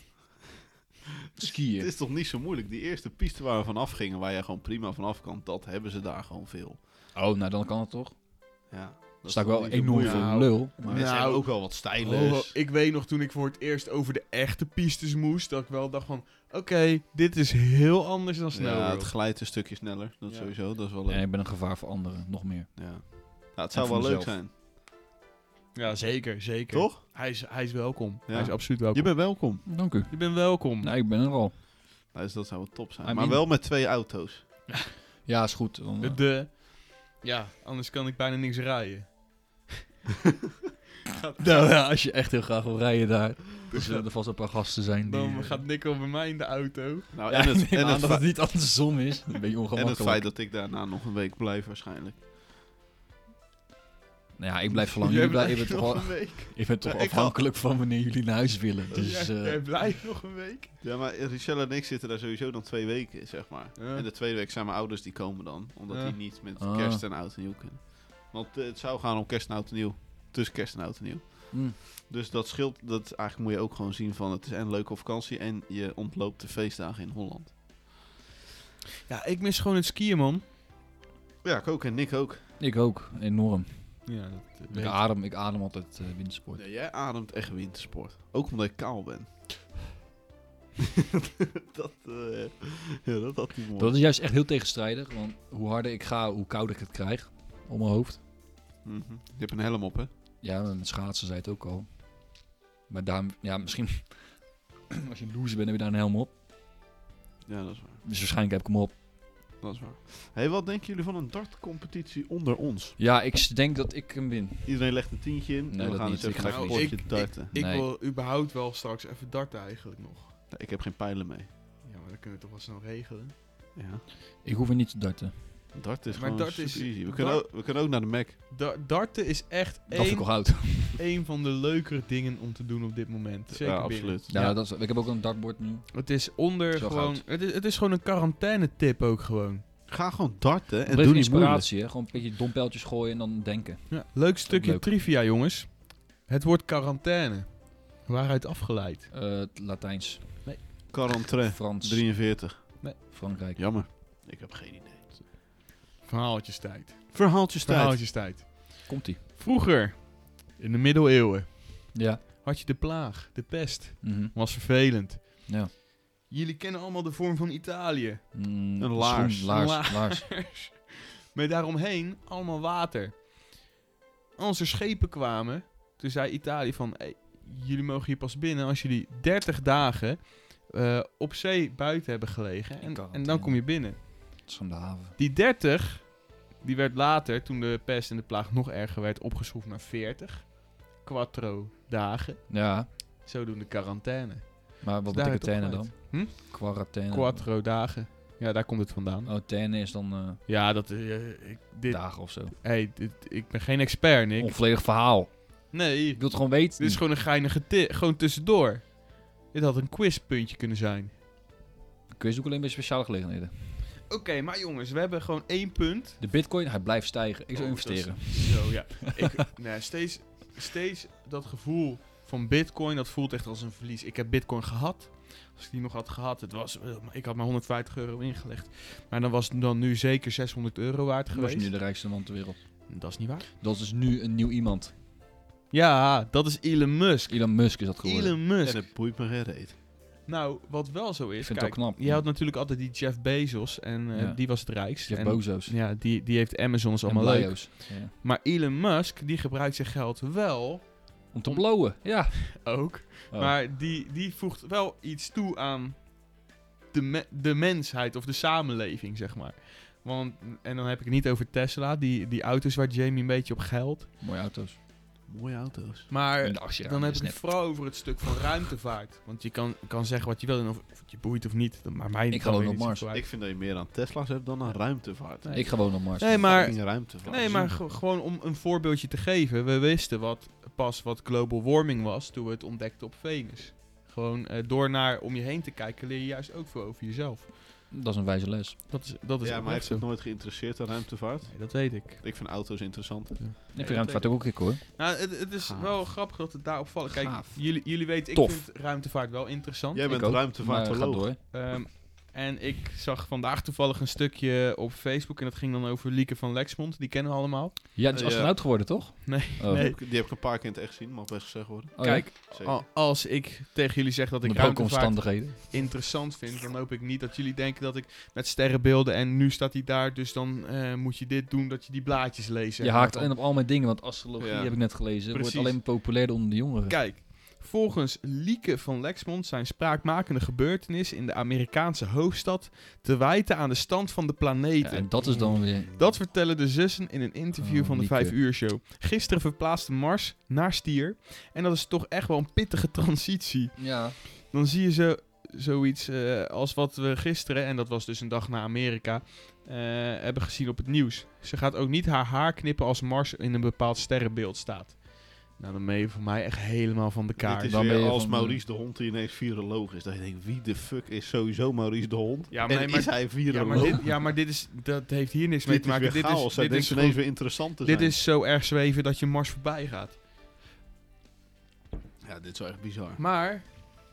B: Het
C: skiën?
B: is toch niet zo moeilijk. Die eerste piste waar we vanaf gingen, waar je gewoon prima vanaf kan, dat hebben ze daar gewoon veel.
C: Oh, nou dan kan het toch?
B: Ja, dat
C: Dan
B: is
C: sta ik
B: toch
C: wel
B: niet zo
C: enorm
B: moeilijk.
C: veel
A: Nou,
C: lul.
B: Maar
C: Maar
B: er zijn
A: Nou,
B: ook wel wat stijlers.
A: Oh, ik weet nog toen ik voor het eerst over de echte pistes moest, dat ik wel dacht van, oké, dit is heel anders dan sneller.
B: ja, het glijdt een stukje sneller. Dat
A: Ja.
B: sowieso, dat is wel
C: en
B: leuk.
C: ik ben een gevaar voor anderen, nog meer.
B: Ja. Nou, het zou
C: voor
B: wel leuk
C: mezelf.
B: zijn,
A: Ja, zeker, zeker.
B: toch?
A: Hij is, hij is welkom.
B: Ja.
A: Hij is absoluut welkom.
B: Je
A: Je,
B: bent welkom.
C: Dank u.
A: bent welkom.
C: Nee, ik ben er al.
B: Nou, dus dat zou wel top zijn.
C: I
B: maar
C: mean-
B: wel met twee auto's.
C: Ja, is goed. Dan, eh,
A: De, de- ja, anders kan ik bijna niks rijden.
C: Nou ja, als je echt heel graag wil rijden daar, dan zullen er vast wel een paar gasten zijn die...
A: Dan
C: eh,
A: gaat Nico bij mij in de auto.
B: Nou,
C: Ja,
B: en,
C: ik
B: het,
C: neem
B: en,
C: aan
B: het
C: dat
B: fe-
C: het niet andersom is. Een beetje
B: en het
C: ongemakkelijk.
B: feit dat ik daarna nog een week blijf waarschijnlijk.
C: Nou ja, ik blijf verlangen.
A: Jij
C: Jullie blijven
A: blijft
C: toch
A: nog
C: wel-
A: een week.
C: Ik ben toch
B: Ja, ik ga-
C: afhankelijk van wanneer jullie naar huis willen. Dus
A: jij,
C: eh,
A: jij blijft nog een week.
B: Ja, maar Richelle en ik zitten daar sowieso dan twee weken, zeg maar.
A: Ja.
B: En de tweede week zijn mijn ouders die komen dan. Omdat
A: Ja.
B: die niet met
C: Ah.
B: kerst en oud en nieuw kunnen. Want eh, het zou gaan om kerst en oud en nieuw. Tussen kerst en oud en nieuw.
C: mm,
B: Dus dat scheelt, dat eigenlijk moet je ook gewoon zien van het is en leuke vakantie en je ontloopt de feestdagen in Holland.
A: Ja, ik mis gewoon het skiën, man.
B: Ja, ik ook en Nick ook.
C: ik ook, enorm.
A: Ja, dat eh,
C: Ik
A: weet ik.
C: adem, ik adem altijd eh wintersport.
B: Nee, jij ademt echt wintersport. Ook omdat ik kaal ben. dat, eh, ja, dat had hij mooi.
C: Dat is juist echt heel tegenstrijdig, want hoe harder ik ga, hoe kouder ik het krijg om mijn hoofd.
B: Mhm. Je hebt een helm op, hè?
C: Ja, met schaatsen zei het ook al. Maar daar, ja, misschien als je een loser bent, heb je daar een helm op.
B: Ja, dat is waar.
C: Dus waarschijnlijk heb ik hem op.
B: Dat is waar. hey, wat denken jullie van een dartcompetitie onder ons?
C: Ja, ik denk dat ik hem win.
B: Iedereen legt een tientje in
C: Nee,
B: en we
C: dat
B: gaan
C: niet.
B: eens even
C: Ik ga
B: een
A: niet.
C: het
B: potje
A: Nou, Ik-
B: darten.
A: Ik
C: Nee.
A: wil überhaupt wel straks even darten eigenlijk nog.
B: Nee, ik heb geen pijlen mee.
A: Ja, maar dat kunnen we toch wel snel regelen.
B: Ja.
C: Ik hoef er niet te darten.
B: Dart is
A: Maar
B: gewoon
A: dart
B: super
A: is-
B: easy. We
A: dart-
B: kunnen, ook, we kunnen ook naar de Mac.
A: Da- darten is echt
C: Dat vind ik
A: één,
C: al oud.
A: één van de leukere dingen om te doen op dit moment. Zeker
B: ja,
A: binnen.
B: absoluut.
C: Ja,
A: Ja.
C: Dat is, ik heb ook een dartboard nu.
A: Het is onder
C: Zo
A: gewoon...
C: goud.
A: Het is, het is gewoon een quarantaine-tip ook gewoon.
B: Ga gewoon darten en
C: En doe
B: doe niet moeilijk.
C: inspiratie, hè? Gewoon een beetje dompeltjes gooien en dan denken.
A: Ja. Leuk stukje
C: leuk.
A: trivia, jongens. Het woord quarantaine. Waaruit afgeleid?
C: Eh, het Latijns,
B: Quarantre,
C: Frans,
B: 43.
C: Frankrijk.
B: Jammer. Ik heb geen idee.
A: Verhaaltjestijd.
B: Verhaaltjes tijd.
A: Verhaaltjestijd.
C: Komt-ie.
A: Vroeger, in de middeleeuwen,
C: Ja.
A: had je de plaag, de pest.
C: Mhm.
A: Was vervelend.
C: Ja.
A: Jullie kennen allemaal de vorm van Italië.
C: Mm,
B: Een laars.
C: schoen, laars,
A: Een laars.
C: laars.
A: Met daaromheen allemaal water. Als er schepen kwamen, toen zei Italië van... "Hey, jullie mogen hier pas binnen als jullie 30 dagen eh, op zee buiten hebben gelegen.
C: In
A: En, en dan
C: quarantaine.
A: kom je binnen.
C: Dat is van de haven.
A: Die 30, die werd later, toen de pest en de plaag nog erger werd, opgeschroefd naar 40. Quattro dagen.
C: Ja,
A: Zodoende quarantaine.
C: maar wat
A: Daar
C: betekent
A: heb je
C: tenen
A: het
C: dan?
A: opgeleid. Hm?
C: Quarantaine.
A: Quattro dagen. Ja, daar komt het vandaan.
C: Oh, tenen is dan eh,
A: Ja, dat... eh, ik, dit,
C: dagen of zo.
A: hey, dit- ik ben geen expert, Nick.
C: Onvolledig verhaal.
A: Nee,
C: Ik wil het gewoon weten.
A: Dit is gewoon een geinige tip. Gewoon tussendoor. Dit had een quizpuntje kunnen zijn.
C: Kun je zoeken alleen bij speciale gelegenheden.
A: Oké, maar jongens, we hebben gewoon één punt.
C: De bitcoin, hij blijft stijgen. Ik zou
A: Oh,
C: investeren.
A: dat is- Zo, ja. Ik, nee, steeds, steeds dat gevoel van bitcoin, dat voelt echt als een verlies. Ik heb bitcoin gehad. Als ik die nog had gehad, het was, eh, ik had maar 150 euro ingelegd. Maar dan was het dan nu zeker 600 euro waard
C: was
A: geweest.
C: nu de rijkste man ter wereld.
A: Dat is niet waar.
C: Dat is dus nu een nieuw iemand.
A: Ja, dat is Elon Musk.
C: Elon Musk is dat geworden.
A: Elon
B: En
A: Musk.
B: het boeit me geen reet.
A: Nou, wat wel zo is,
C: Ik vind
A: kijk,
C: het wel knap.
A: je had natuurlijk altijd die Jeff Bezos en eh,
C: Ja.
A: die was het rijkst.
C: Jeff
A: en,
C: Bezos.
A: Ja, die, die heeft Amazon, is
C: En
A: allemaal leuk.
C: Blio's. Ja.
A: Maar Elon Musk, die gebruikt zijn geld wel
C: Om te
A: Om-
C: blowen, ja.
A: ook
C: Oh.
A: Maar die, die voegt wel iets toe aan de, me- de mensheid of de samenleving, zeg maar. Want, en dan heb ik het niet over Tesla, die, die auto's waar Jamie een beetje op geldt.
C: Oh, Mooie auto's.
B: Mooie auto's.
A: Maar
C: En de asje
A: Eh, dan
C: aan
A: heb
C: is
A: ik het
C: net-
A: vooral over het stuk van ruimtevaart. Want je kan, kan zeggen wat je wil en of, of het je boeit of niet. dat- Maar mij
C: Ik
A: kan
C: geloof
A: weer
C: op
A: niet zo
C: Mars.
A: kwaad.
B: Ik vind dat je meer aan Tesla's hebt dan aan ruimtevaart.
C: Ik ga gewoon op Mars.
A: Nee, maar,
B: Fucking ruimtevaart.
A: nee, maar ge- gewoon om een voorbeeldje te geven. We wisten wat, pas wat global warming was toen we het ontdekten op Venus. Gewoon eh, door naar om je heen te kijken leer je juist ook veel over jezelf.
C: Dat is een wijze les.
A: Dat is, dat is
B: Ja,
A: ook
B: maar
A: echt
B: heeft het
A: zo.
B: nooit geïnteresseerd aan ruimtevaart?
A: Nee, dat weet ik.
B: Ik vind auto's interessant.
C: Ik vind ruimtevaart ook een keer hoor.
A: Nou, het, het is
B: Gaaf.
A: wel grappig dat het daarop valt. Kijk,
C: Gaaf.
A: jullie, jullie weten, ik
C: Tof.
A: vind ruimtevaart wel interessant.
B: Jij bent
C: ook,
B: ruimtevaart
C: Maar ga door.
A: Ehm, en ik zag vandaag toevallig een stukje op Facebook en dat ging dan over Lieke van Lexmond. Die kennen we allemaal.
C: Ja, die is
B: Eh, ja.
C: astronaut geworden, toch?
A: Nee,
C: Oh.
A: nee.
B: Die heb ik een paar keer in het echt gezien, mag best gezegd worden.
C: Oh,
A: Kijk,
B: Zeker.
A: al- als ik tegen jullie zeg dat
C: ja?
A: ik
C: Met welke
A: ruimtevaart
C: omstandigheden.
A: interessant vind, dan hoop ik niet dat jullie denken dat ik met sterrenbeelden en nu staat hij daar, dus dan eh, moet je dit doen, dat je die blaadjes leest. zeg
C: Je
A: maar.
C: haakt in op al mijn dingen, want astrologie
B: Ja.
C: heb ik net gelezen. Wordt
A: Precies.
C: alleen maar populairder onder de jongeren.
A: Kijk, volgens Lieke van Lexmond zijn spraakmakende gebeurtenissen in de Amerikaanse hoofdstad te wijten aan de stand van de
C: Ja,
A: planeten.
C: en dat is dan weer...
A: Dat vertellen de zussen in een interview
C: Oh,
A: van de
C: Lieke.
A: 5 uur show. Gisteren verplaatste Mars naar Stier. En dat is toch echt wel een pittige transitie.
C: Ja,
A: Dan zie je zo, zoiets eh, als wat we gisteren, en dat was dus een dag na Amerika, eh, hebben gezien op het nieuws. Ze gaat ook niet haar haar knippen als Mars in een bepaald sterrenbeeld staat. Nou, dan ben je voor mij echt helemaal van de kaart.
B: Dit is
C: Dan ben
B: weer
C: je
B: als
C: van-
B: Maurice de Hond die ineens viroloog is. Dat je denkt, wie de fuck is sowieso Maurice de Hond?
A: Ja, maar
B: en
A: nee, maar-
B: is hij
A: Ja,
B: viroloog?
A: maar dit, ja, maar dit is, dat heeft hier niks
B: Dit
A: mee te maken.
B: is weer
A: dit
B: chaos.
A: is,
B: Hij
A: dit
B: denkt
A: is,
B: ineens
A: gewoon-
B: weer interessant te
A: dit
B: zijn.
A: is zo erg zweven dat je Mars voorbij gaat.
B: Ja, dit is wel echt bizar.
A: Maar,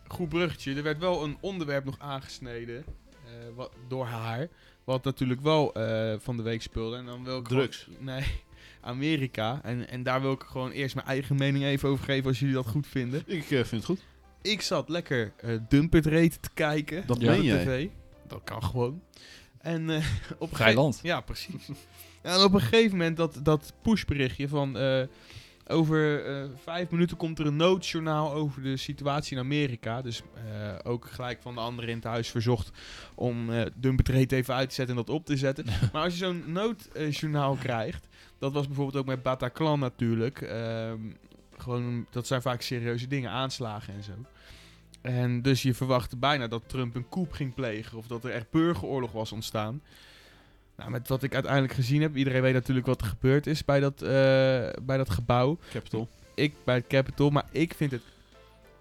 A: goed bruggetje, er werd wel een onderwerp nog aangesneden eh, wat, door haar. Wat natuurlijk wel eh, van de week speelde. En dan wil ik gewoon-
B: Drugs.
A: nee, Amerika. En, en daar wil ik gewoon eerst mijn eigen mening even over geven als jullie dat goed vinden.
B: Ik eh, vind het goed.
A: Ik zat lekker eh Dumpert Rate te kijken.
B: Dat
A: op
B: meen
A: de
B: jij?
A: tv. Dat kan gewoon. En eh, op een
C: vrij
A: gegeven
C: land.
A: ja, precies. en op een gegeven moment dat, dat pushberichtje van... eh, over eh, vijf minuten komt er een noodjournaal over de situatie in Amerika. Dus eh, ook gelijk van de anderen in het huis verzocht om eh Dumpert Rate even uit te zetten en dat op te zetten. maar als je zo'n noodjournaal krijgt... Dat was bijvoorbeeld ook met Bataclan natuurlijk. ehm, gewoon, dat zijn vaak serieuze dingen, aanslagen en zo. En dus je verwachtte bijna dat Trump een coup ging plegen of dat er echt burgeroorlog was ontstaan. Nou, met wat ik uiteindelijk gezien heb, iedereen weet natuurlijk wat er gebeurd is bij dat, eh, bij dat gebouw.
B: Capital.
A: Ik bij het Capitol, maar ik vind het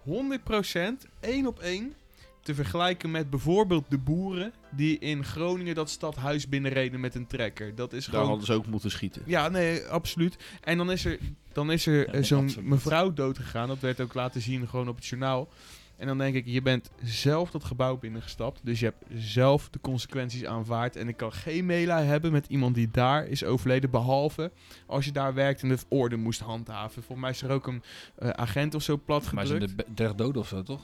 A: 100% één op één te vergelijken met bijvoorbeeld de boeren die in Groningen dat stadhuis binnenreden met een trekker. Dat is
B: Daar
A: gewoon
B: hadden ze ook moeten schieten.
A: ja, nee, absoluut. En dan is er, dan is er
C: Ja,
A: eh, zo'n
C: absoluut.
A: mevrouw doodgegaan. Dat werd ook laten zien gewoon op het journaal. En dan denk ik, je bent zelf dat gebouw binnengestapt. Dus je hebt zelf de consequenties aanvaard. En ik kan geen meelij hebben met iemand die daar is overleden. Behalve als je daar werkt en de orde moest handhaven. Volgens mij is er ook een eh, agent of zo plat
C: Maar zijn
A: gedrukt.
C: er be- 30 doden of zo, toch?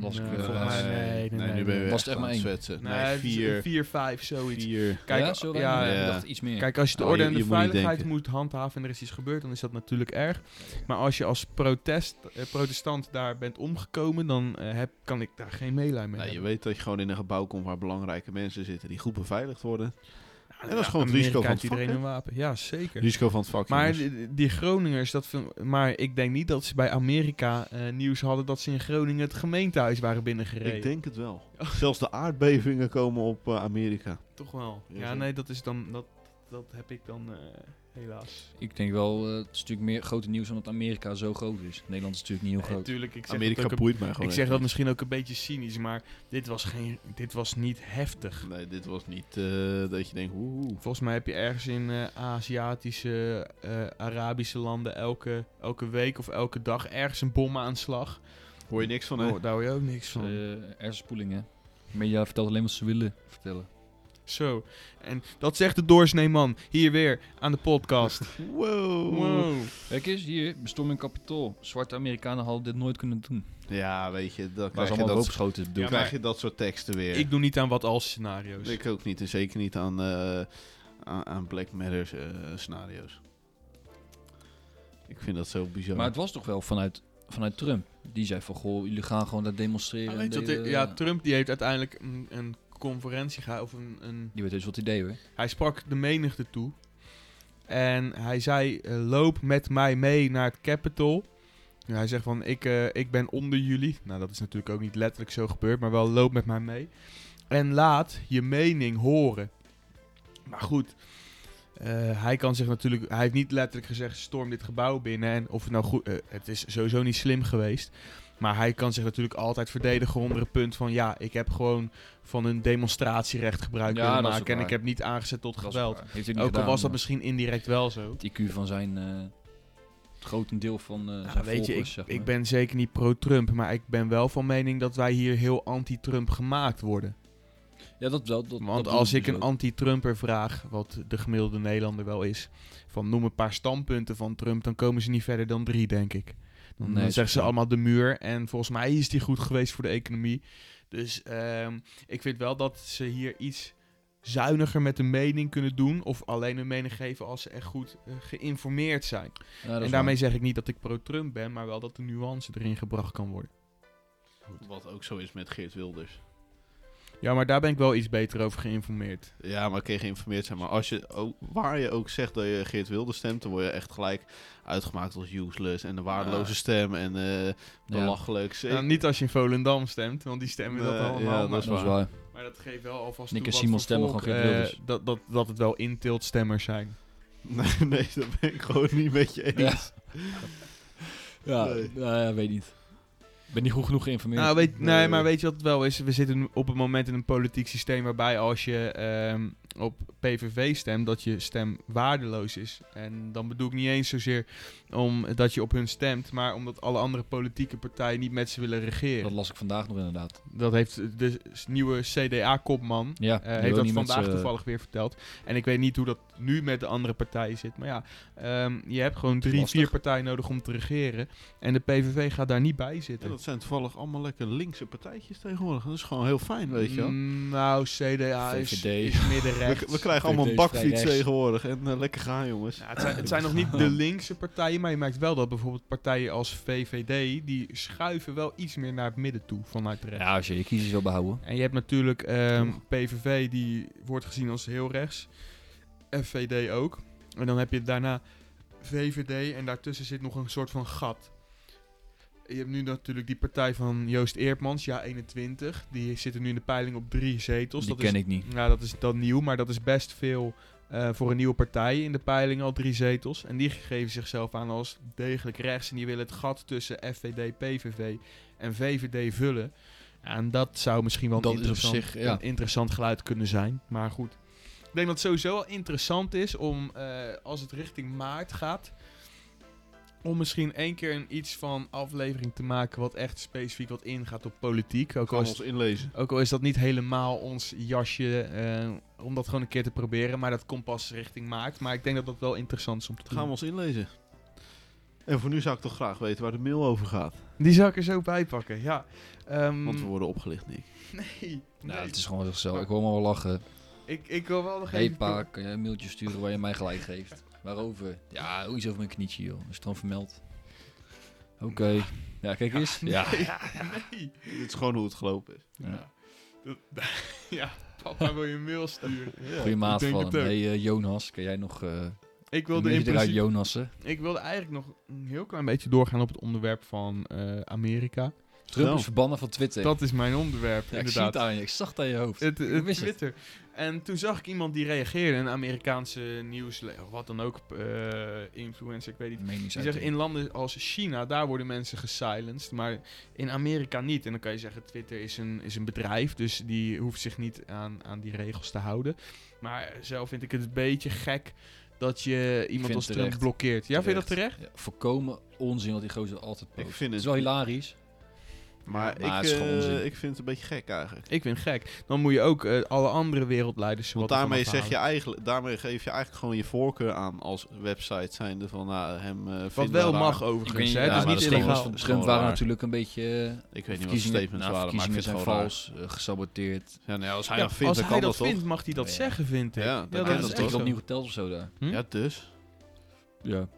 C: Las ik
A: Nee,
C: weer.
A: volgens mij
C: Eh,
A: nee, nee, nee,
B: nu ben
A: nee.
B: je weer
C: Was het
B: echt
C: echt maar
B: aan het
C: één?
B: zwetsen.
A: Nee, het
B: Nee,
A: is
B: vier.
A: vier, vijf, zoiets.
B: Vier.
A: Kijk,
C: ja, zo
A: ja,
C: weinig? Ik
B: ja.
C: dacht iets meer.
A: Kijk, als je de
B: Oh,
A: orde
B: je-
A: en
B: je
A: de
B: moet niet
A: veiligheid
B: denken.
A: moet handhaven en er is iets gebeurd, dan is dat natuurlijk erg. Maar als je als protest, eh, protestant daar bent omgekomen, dan eh, heb, kan ik daar geen meelij mee
B: Nee, je
A: hebben.
B: weet dat je gewoon in een gebouw komt waar belangrijke mensen zitten die goed beveiligd worden.
A: Ja,
B: dat is gewoon het
A: Amerika
B: risico van
A: heeft
B: het
A: iedereen
B: vak,
A: een wapen. Ja, zeker.
B: Risico van het vak.
A: maar
B: jongens.
A: die, die Groningers, dat vind- maar ik denk niet dat ze bij Amerika eh, nieuws hadden dat ze in Groningen het gemeentehuis waren binnengereden.
B: ik denk het wel.
A: Oh.
B: Zelfs de aardbevingen komen op eh, Amerika.
A: Toch wel.
B: Ja,
A: Ja,
B: zo.
A: nee, dat is dan. Dat, dat heb ik dan. eh, helaas.
C: Ik denk wel, eh, het is natuurlijk meer grote nieuws omdat Amerika zo groot is. Nederland is natuurlijk niet heel groot.
A: Natuurlijk, ik zeg
B: Amerika
A: dat ook een-
B: boeit mij gewoon.
A: Ik zeg
B: echt
A: dat misschien ook een beetje cynisch, maar dit was, geen, dit was niet heftig.
B: niet. Nee, dit was niet eh, dat je denkt, woehoe.
A: Volgens mij heb je ergens in eh, Aziatische, eh, Arabische landen elke, elke week of elke dag ergens een bomaanslag.
B: Hoor je niks van, hè?
A: Oh, daar hoor je ook niks van.
C: Eh hersenspoeling, hè. Media vertelt alleen wat ze willen vertellen.
A: Zo. En dat zegt de doorsnee man. Hier weer aan de podcast.
B: Wow.
A: Wow.
C: Kijk eens, hier, bestorming kapitool. Zwarte Amerikanen hadden dit nooit kunnen doen.
B: Ja, weet je, dan
C: Waar
B: krijg
C: ze
B: je,
C: allemaal
B: dat,
C: doodgeschoten bedoel
B: dan
C: ik.
A: maar-
B: krijg je dat soort teksten weer.
A: Ik doe niet aan wat als
C: Dus-
A: scenario's.
B: Ik ook niet. En zeker niet aan, eh, aan, aan Black Matter eh, scenario's. Ik vind dat zo bizar.
C: Maar het was toch wel vanuit, vanuit Trump. Die zei van, goh, jullie gaan gewoon daar demonstreren.
A: Ah,
C: en
A: weet je wat,
C: delen.
A: ik- ja, Trump die heeft uiteindelijk een, een conferentie gehouden. Of een, een,
C: die weet dus wat idee, hoor.
A: hij sprak de menigte toe. En hij zei, eh, loop met mij mee naar het Capitol. Ja, hij zegt van, ik, eh, ik ben onder jullie. Nou, dat is natuurlijk ook niet letterlijk zo gebeurd, maar wel loop met mij mee. En laat je mening horen. Maar goed, eh, hij kan zich natuurlijk... Hij heeft niet letterlijk gezegd, storm dit gebouw binnen. En of het nou goed... eh, het is sowieso niet slim geweest. Maar hij kan zich natuurlijk altijd verdedigen onder het punt van... Ja, ik heb gewoon van hun demonstratierecht gebruik
C: Ja,
A: willen
C: dat is ook
A: maken. En
C: waar.
A: ik heb niet aangezet tot geweld.
C: Heeft hij niet
A: Ook al
C: gedaan,
A: was dat
C: maar
A: misschien indirect wel zo.
C: Het IQ van zijn... eh, het grotendeel van eh
A: Ja,
C: zijn
A: Nou, weet je, ik,
C: volgers, zeg
A: ik
C: maar.
A: ben zeker niet pro-Trump, maar ik ben wel van mening dat wij hier heel anti-Trump gemaakt worden.
C: Ja, dat wel. Dat,
A: Want
C: dat
A: als
C: doe
A: ik een
C: dus ook.
A: anti-Trumper vraag, wat de gemiddelde Nederlander wel is, van noem een paar standpunten van Trump, dan komen ze niet verder dan drie, denk ik. Dan,
C: Nee,
A: dan
C: dat is
A: zeggen ze
C: waar.
A: allemaal de muur en volgens mij is die goed geweest voor de economie. Dus ehm, ik vind wel dat ze hier iets zuiniger met de mening kunnen doen of alleen een mening geven als ze echt goed eh, geïnformeerd zijn.
C: Ja, dat
A: En
C: is
A: daarmee
C: waar.
A: zeg ik niet dat ik pro-Trump ben, maar wel dat de nuance erin gebracht kan worden.
B: Wat ook zo is met Geert Wilders.
A: Ja, maar daar ben ik wel iets beter over geïnformeerd.
B: Ja, maar kun je geïnformeerd zijn. Maar als je, ook- waar je ook zegt dat je Geert Wilders stemt, dan word je echt gelijk uitgemaakt als useless en een waardeloze
A: Ah.
B: stem en eh
C: Ja,
B: belachelijk. Zeker-
A: Nou, niet als je in Volendam stemt, want die stemmen dat
B: Nee,
A: allemaal.
B: ja,
A: maar,
B: dat
C: dat is waar.
A: maar dat geeft wel alvast
C: Nick
A: toe
C: en
A: wat
C: Simon
A: voor
C: stemmen
A: volk,
C: gewoon Geert
A: eh,
C: Wilders.
A: dat, dat, dat het wel intiltstemmers zijn.
B: Nee, nee, dat ben ik gewoon niet met je eens.
C: Ja,
B: Nee.
C: nou ja, weet niet. Ik ben niet goed genoeg geïnformeerd.
A: Nou, weet, nee,
B: Nee.
C: eh,
A: maar weet je wat het wel is? We zitten nu op het moment in een politiek systeem waarbij als je ehm, op PVV stemt, dat je stem waardeloos is. En dan bedoel ik niet eens zozeer omdat je op hun stemt, maar omdat alle andere politieke partijen niet met ze willen regeren.
C: dat las ik vandaag nog inderdaad.
A: Dat heeft de s- nieuwe CDA-kopman
C: Ja,
A: eh,
C: die wil
A: heeft dat
C: niet met
A: vandaag
C: z'n-
A: toevallig weer verteld. En ik weet niet hoe dat nu met de andere partijen zit. Maar ja, ehm, je hebt gewoon drie,
C: Lastig.
A: vier partijen nodig om te regeren. En de PVV gaat daar niet bij
B: Ja,
A: zitten.
B: dat zijn toevallig allemaal lekker linkse partijtjes tegenwoordig. Dat is gewoon heel fijn, weet je wel.
A: Mm, nou, CDA is,
C: VVD.
A: is middenrecht.
B: We, we krijgen
C: VVD
B: allemaal
C: is
B: een bakfiets
C: vrij rechts.
B: tegenwoordig. En eh, lekker gaan, jongens.
A: Ja, het, zijn, het zijn nog niet de linkse partijen, maar je merkt wel dat bijvoorbeeld partijen als VVD... die schuiven wel iets meer naar het midden toe vanuit rechts.
C: Ja, als je je kiezers wil behouden.
A: En je hebt natuurlijk ehm, PVV, die wordt gezien als heel rechts. FVD ook. En dan heb je daarna VVD en daartussen zit nog een soort van gat. Je hebt nu natuurlijk die partij van Joost Eerdmans, ja 21. Die zitten nu in de peiling op drie zetels.
C: die
A: dat is,
C: ken ik niet.
A: Nou, dat is dan nieuw, maar dat is best veel eh, voor een nieuwe partij in de peiling al drie zetels. En die geven zichzelf aan als degelijk rechts. En die willen het gat tussen FVD, PVV en VVD vullen. En dat zou misschien wel een
C: Dat is op
A: interessant,
C: zich, ja.
A: een interessant geluid kunnen zijn. Maar goed. Ik denk dat het sowieso wel interessant is om, eh, als het richting maart gaat, om misschien één keer een iets van aflevering te maken wat echt specifiek wat ingaat op politiek. Ook al
B: Kan
A: is
B: ons inlezen.
A: ook al is dat niet helemaal ons jasje eh, om dat gewoon een keer te proberen. Maar dat komt pas richting maart. Maar ik denk dat dat wel interessant is om te
B: Gaan we
A: doen.
B: ons inlezen. En voor nu zou ik toch graag weten waar de mail over gaat.
A: Die zou ik er zo bij pakken, ja. Ehm,
B: Want we worden opgelicht, Nick.
A: Nee,
C: Nou,
A: nee. Oh.
C: het is gewoon zichzelf. Ik wil maar wel lachen.
A: Ik, ik wil wel nog
C: Hé hey,
A: even...
C: pa, kan jij een mailtje sturen waar je mij gelijk geeft? Waarover? Ja, ook iets over mijn knietje, joh. Is het dan vermeld? Oké. Ja, kijk eens. Ja.
A: Nee, nee.
B: Dit is gewoon hoe het gelopen is.
C: Ja.
A: Dat- ja, papa wil je een mail sturen.
C: Goeie maat
A: denk
C: van hem.
A: het ook.
C: Hey, eh, Jonas, kan jij nog... eh
A: Ik
C: wil
A: wilde, in
C: eruit
A: principe,
C: Jonassen?
A: ik wilde eigenlijk nog een heel klein beetje doorgaan op het onderwerp van eh, Amerika.
C: Trump
B: Nou.
C: is verbannen van Twitter.
A: Dat is mijn onderwerp,
C: Ja, ik zie
A: inderdaad.
C: het aan je. Ik zag het aan je hoofd.
A: Het, het
C: wist het.
A: Twitter. En toen zag ik iemand die reageerde, een Amerikaanse nieuws, of wat dan ook, eh, influencer, ik weet niet. Die
C: Meningsuiting.
A: zeggen in landen als China, daar worden mensen gesilenced, maar in Amerika niet. En dan kan je zeggen, Twitter is een, is een bedrijf, dus die hoeft zich niet aan, aan die regels te houden. Maar zelf vind ik het een beetje gek dat je iemand
C: vind
A: als Trump
C: terecht.
A: blokkeert. Ja, vind je dat terecht?
C: Ja, voorkomen onzin wat die gozer altijd post.
B: Ik vind het,
C: Het is wel hilarisch.
B: maar
C: Maar
B: ik,
C: het is gewoon
B: eh,
C: onzin.
B: ik vind het een beetje gek eigenlijk.
A: Ik vind het gek. Dan moet je ook eh, alle andere wereldleiders...
B: Want
A: wat ervan
B: daarmee, zeg
A: afhalen.
B: je eigenlijk, daarmee geef je eigenlijk gewoon je voorkeur aan als website zijnde van nou, hem eh
A: Wat
B: vinden
A: wel
B: raar.
A: mag
C: Ik
A: overigens,
C: weet
A: hè.
C: ja,
A: het
B: maar
A: is
C: de
A: niet
B: dat is
A: illegaal.
C: statements van
B: Dat is
C: Trump
B: gewoon
C: waren
B: raar.
C: natuurlijk een beetje... eh,
B: Ik weet niet wat de
C: verkiezingen-
B: statements
C: nou,
B: waren, maar ik
C: verkiezingen
B: vind het
C: zijn
B: gewoon
C: vals, eh, gesaboteerd.
B: raar. Ja, nou, als hij
A: Ja,
B: dat vindt,
A: als
B: dan
A: hij
B: kan
A: dat
B: dat, toch?
A: vindt, mag hij dat
C: Ja, ja.
A: zeggen, vind ik.
B: Ja,
A: Ja,
B: dan
A: dat
B: kan
A: is
B: je
C: dat
B: dat
A: echt
B: toch?
C: is
A: zo.
C: opnieuw geteld of zo daar.
A: Hm?
B: Ja, dus.
C: Ja.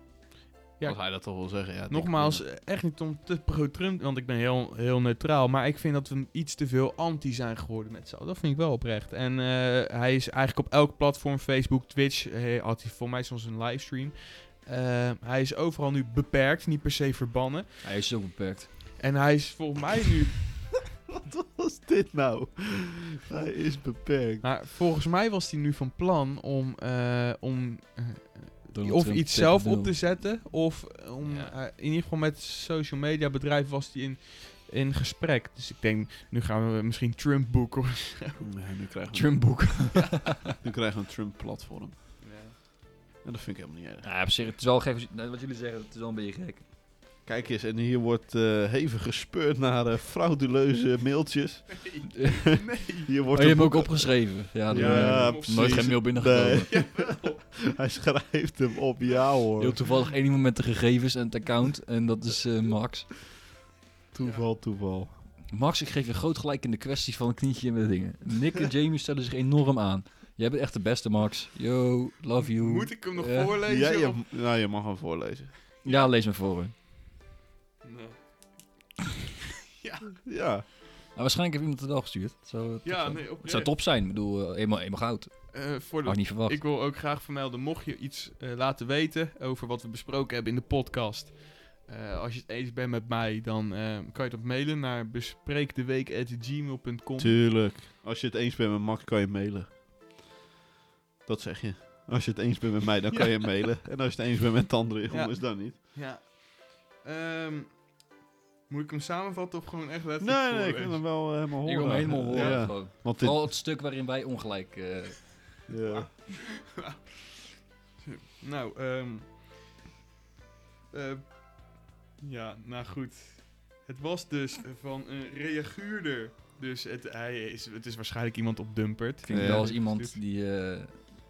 A: Ja.
B: Als hij dat toch wil zeggen. Ja,
A: Nogmaals, eh, echt niet om te pro-Trump, want ik ben heel, heel neutraal. Maar ik vind dat we iets te veel anti zijn geworden met zo. Dat vind ik wel oprecht. En eh, hij is eigenlijk op elk platform, Facebook, Twitch, eh, had hij voor mij soms een livestream. Eh, hij is overal nu beperkt, niet per se verbannen.
C: Hij is ook beperkt.
A: En hij is volgens mij nu
B: wat was dit nou? Hij is beperkt.
A: Maar nou, volgens mij was hij nu van plan om, eh, om eh,
C: Donald
A: of
C: Trump
A: iets
C: te
A: zelf
C: doen.
A: op te zetten. Of om,
B: Ja.
A: eh, in ieder geval met social media bedrijf was hij in, in gesprek. Dus ik denk, nu gaan we misschien Trump boeken. of-
B: nu, krijgen we,
C: Trump boek.
B: nu krijgen we een Trump-platform. En dat vind ik helemaal niet erg.
C: Ja, op zich, het is wel gek. nee, Wat jullie zeggen, het is wel een beetje gek.
B: Kijk eens, en hier wordt eh, hevig gespeurd naar eh, frauduleuze mailtjes. Hier
C: Oh,
B: wordt
C: je
B: een
C: hebt hem ook
B: boek-
C: opgeschreven. Ja, dat-
B: Ja,
C: eh,
B: precies.
C: nooit geen mail binnengekomen.
B: Nee. Hij schrijft hem op, ja hoor.
C: Heel toevallig één iemand met de gegevens en het account. En dat is eh, Max.
B: Toeval, toeval.
C: Max, ik geef je groot gelijk in de kwestie van een knietje en met dingen. Nick en Jamie stellen zich enorm aan. Jij bent echt de beste, Max. Yo, love you.
A: Moet ik hem nog
C: Ja.
A: voorlezen?
B: Ja,
A: of-
B: je, nou, je mag hem voorlezen.
C: Ja, lees me voor. Hè.
A: Nee.
B: Ja.
C: Maar Ah, waarschijnlijk heeft iemand het al gestuurd. Het zou, eh, top
A: Ja,
C: zijn.
A: nee,
C: Het zou
A: oprecht.
C: top zijn. Ik bedoel, eh, eenmaal, eenmaal goud.
A: Eh,
C: Had
A: voordat
C: ik niet verwacht.
A: Ik wil ook graag vermelden, mocht je iets eh, laten weten over wat we besproken hebben in de podcast. eh, als je het eens bent met mij, dan eh, kan je dat mailen naar bespreekdeweek.gmail.com.
B: Tuurlijk. Als je het eens bent met Max, kan je mailen. Dat zeg je. Als je het eens bent met mij, dan kan je mailen. En als je het eens bent met andere jongens, dan niet.
A: Ja. Ehm, moet ik hem samenvatten of gewoon echt letterlijk
B: Nee, nee, ik
A: voorlezen?
B: wil hem wel eh, helemaal horen.
C: Ik wil hem helemaal horen.
B: Ja,
C: gewoon.
B: want dit...
C: Vooral het stuk waarin wij ongelijk... eh,
B: Ja.
A: Nou, ehm, eh, ja, nou goed. Het was dus van een reaguurder. Dus het, hij is, het is waarschijnlijk iemand op Dumpert.
C: klinkt
B: Ja.
C: wel als iemand die... eh,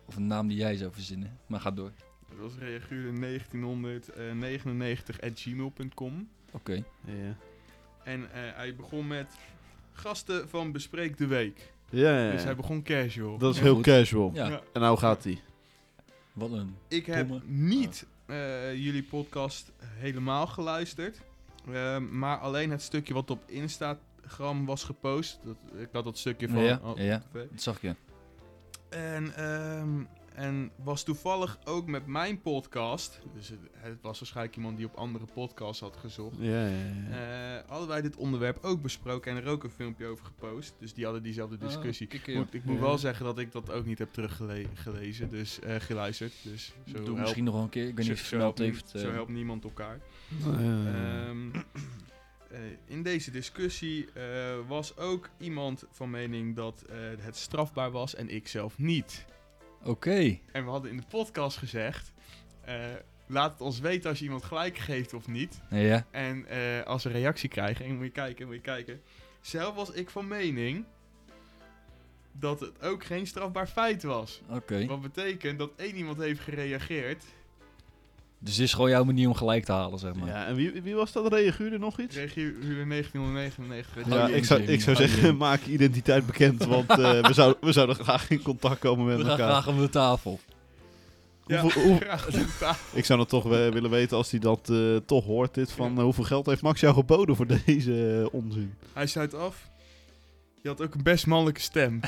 C: of een naam die jij zou verzinnen. Maar ga door.
A: Het was reaguurder eh, 1999.gmail.com.
C: Oké.
B: Ja.
A: En eh, hij begon met gasten van Bespreek de Week.
B: Ja, ja,
A: Dus hij
B: ja.
A: begon casual.
B: Eh. Dat is
C: Ja,
B: heel
C: goed.
B: casual.
C: Ja,
A: Ja.
B: En nou gaat hij.
C: wat een...
A: Ik heb
C: Domme.
A: niet eh, jullie podcast helemaal geluisterd. eh, maar alleen het stukje wat op Instagram was gepost. Dat, ik had dat stukje van...
C: Ja,
A: oh,
C: ja, ja.
A: tv.
C: Dat zag je.
A: En, ehm, en was toevallig ook met mijn podcast. Dus het, het was waarschijnlijk iemand die op andere podcasts had gezocht.
B: Ja, ja, ja.
A: Eh, hadden wij dit onderwerp ook besproken en er ook een filmpje over gepost. Dus die hadden diezelfde discussie.
C: Ah,
B: eh,
C: kikker,
A: Ik
C: joh.
A: moet, ik moet
B: Ja.
A: wel zeggen dat ik dat ook niet heb teruggelezen, dus eh, geluisterd. Dus zo
C: Doe
A: helpt-
C: misschien nog wel een keer. Ik weet niet of
A: zo,
C: je
A: zo helpt
C: het
A: nie-
C: heeft. eh,
A: zo helpt niemand elkaar.
B: Ja, ja, ja.
A: Ehm, eh, in deze discussie eh, was ook iemand van mening dat eh, het strafbaar was en ik zelf niet.
C: Oké.
A: En we hadden in de podcast gezegd: eh, laat het ons weten als je iemand gelijk geeft of niet.
C: Ja.
A: En eh, als we reactie krijgen, en moet je kijken, moet je kijken. Zelf was ik van mening dat het ook geen strafbaar feit was.
C: Oké.
A: Wat betekent dat één iemand heeft gereageerd.
C: Dus dit is gewoon jouw manier om gelijk te halen, zeg maar.
B: Ja, en wie, wie was dat? Reaguurde nog iets?
A: Kreeg je huur 1999.
C: Ja,
B: Ja,
C: die
B: ik zou,
C: Jamie.
B: ik zou
C: Oh, die
B: zeggen,
C: Jamie.
B: maak je identiteit bekend, want eh, we, zouden, we zouden graag in contact komen
C: We
B: met
C: gaan
B: elkaar.
C: graag om de tafel.
A: Ja,
B: Hoeveel- hoe-
A: graag ontdaan.
B: Ik zou dan toch eh, willen weten, als hij dat eh, toch hoort, dit van eh, hoeveel geld heeft Max jou geboden voor deze eh, onzin?
A: Hij sluit af. Je had ook een best mannelijke stem.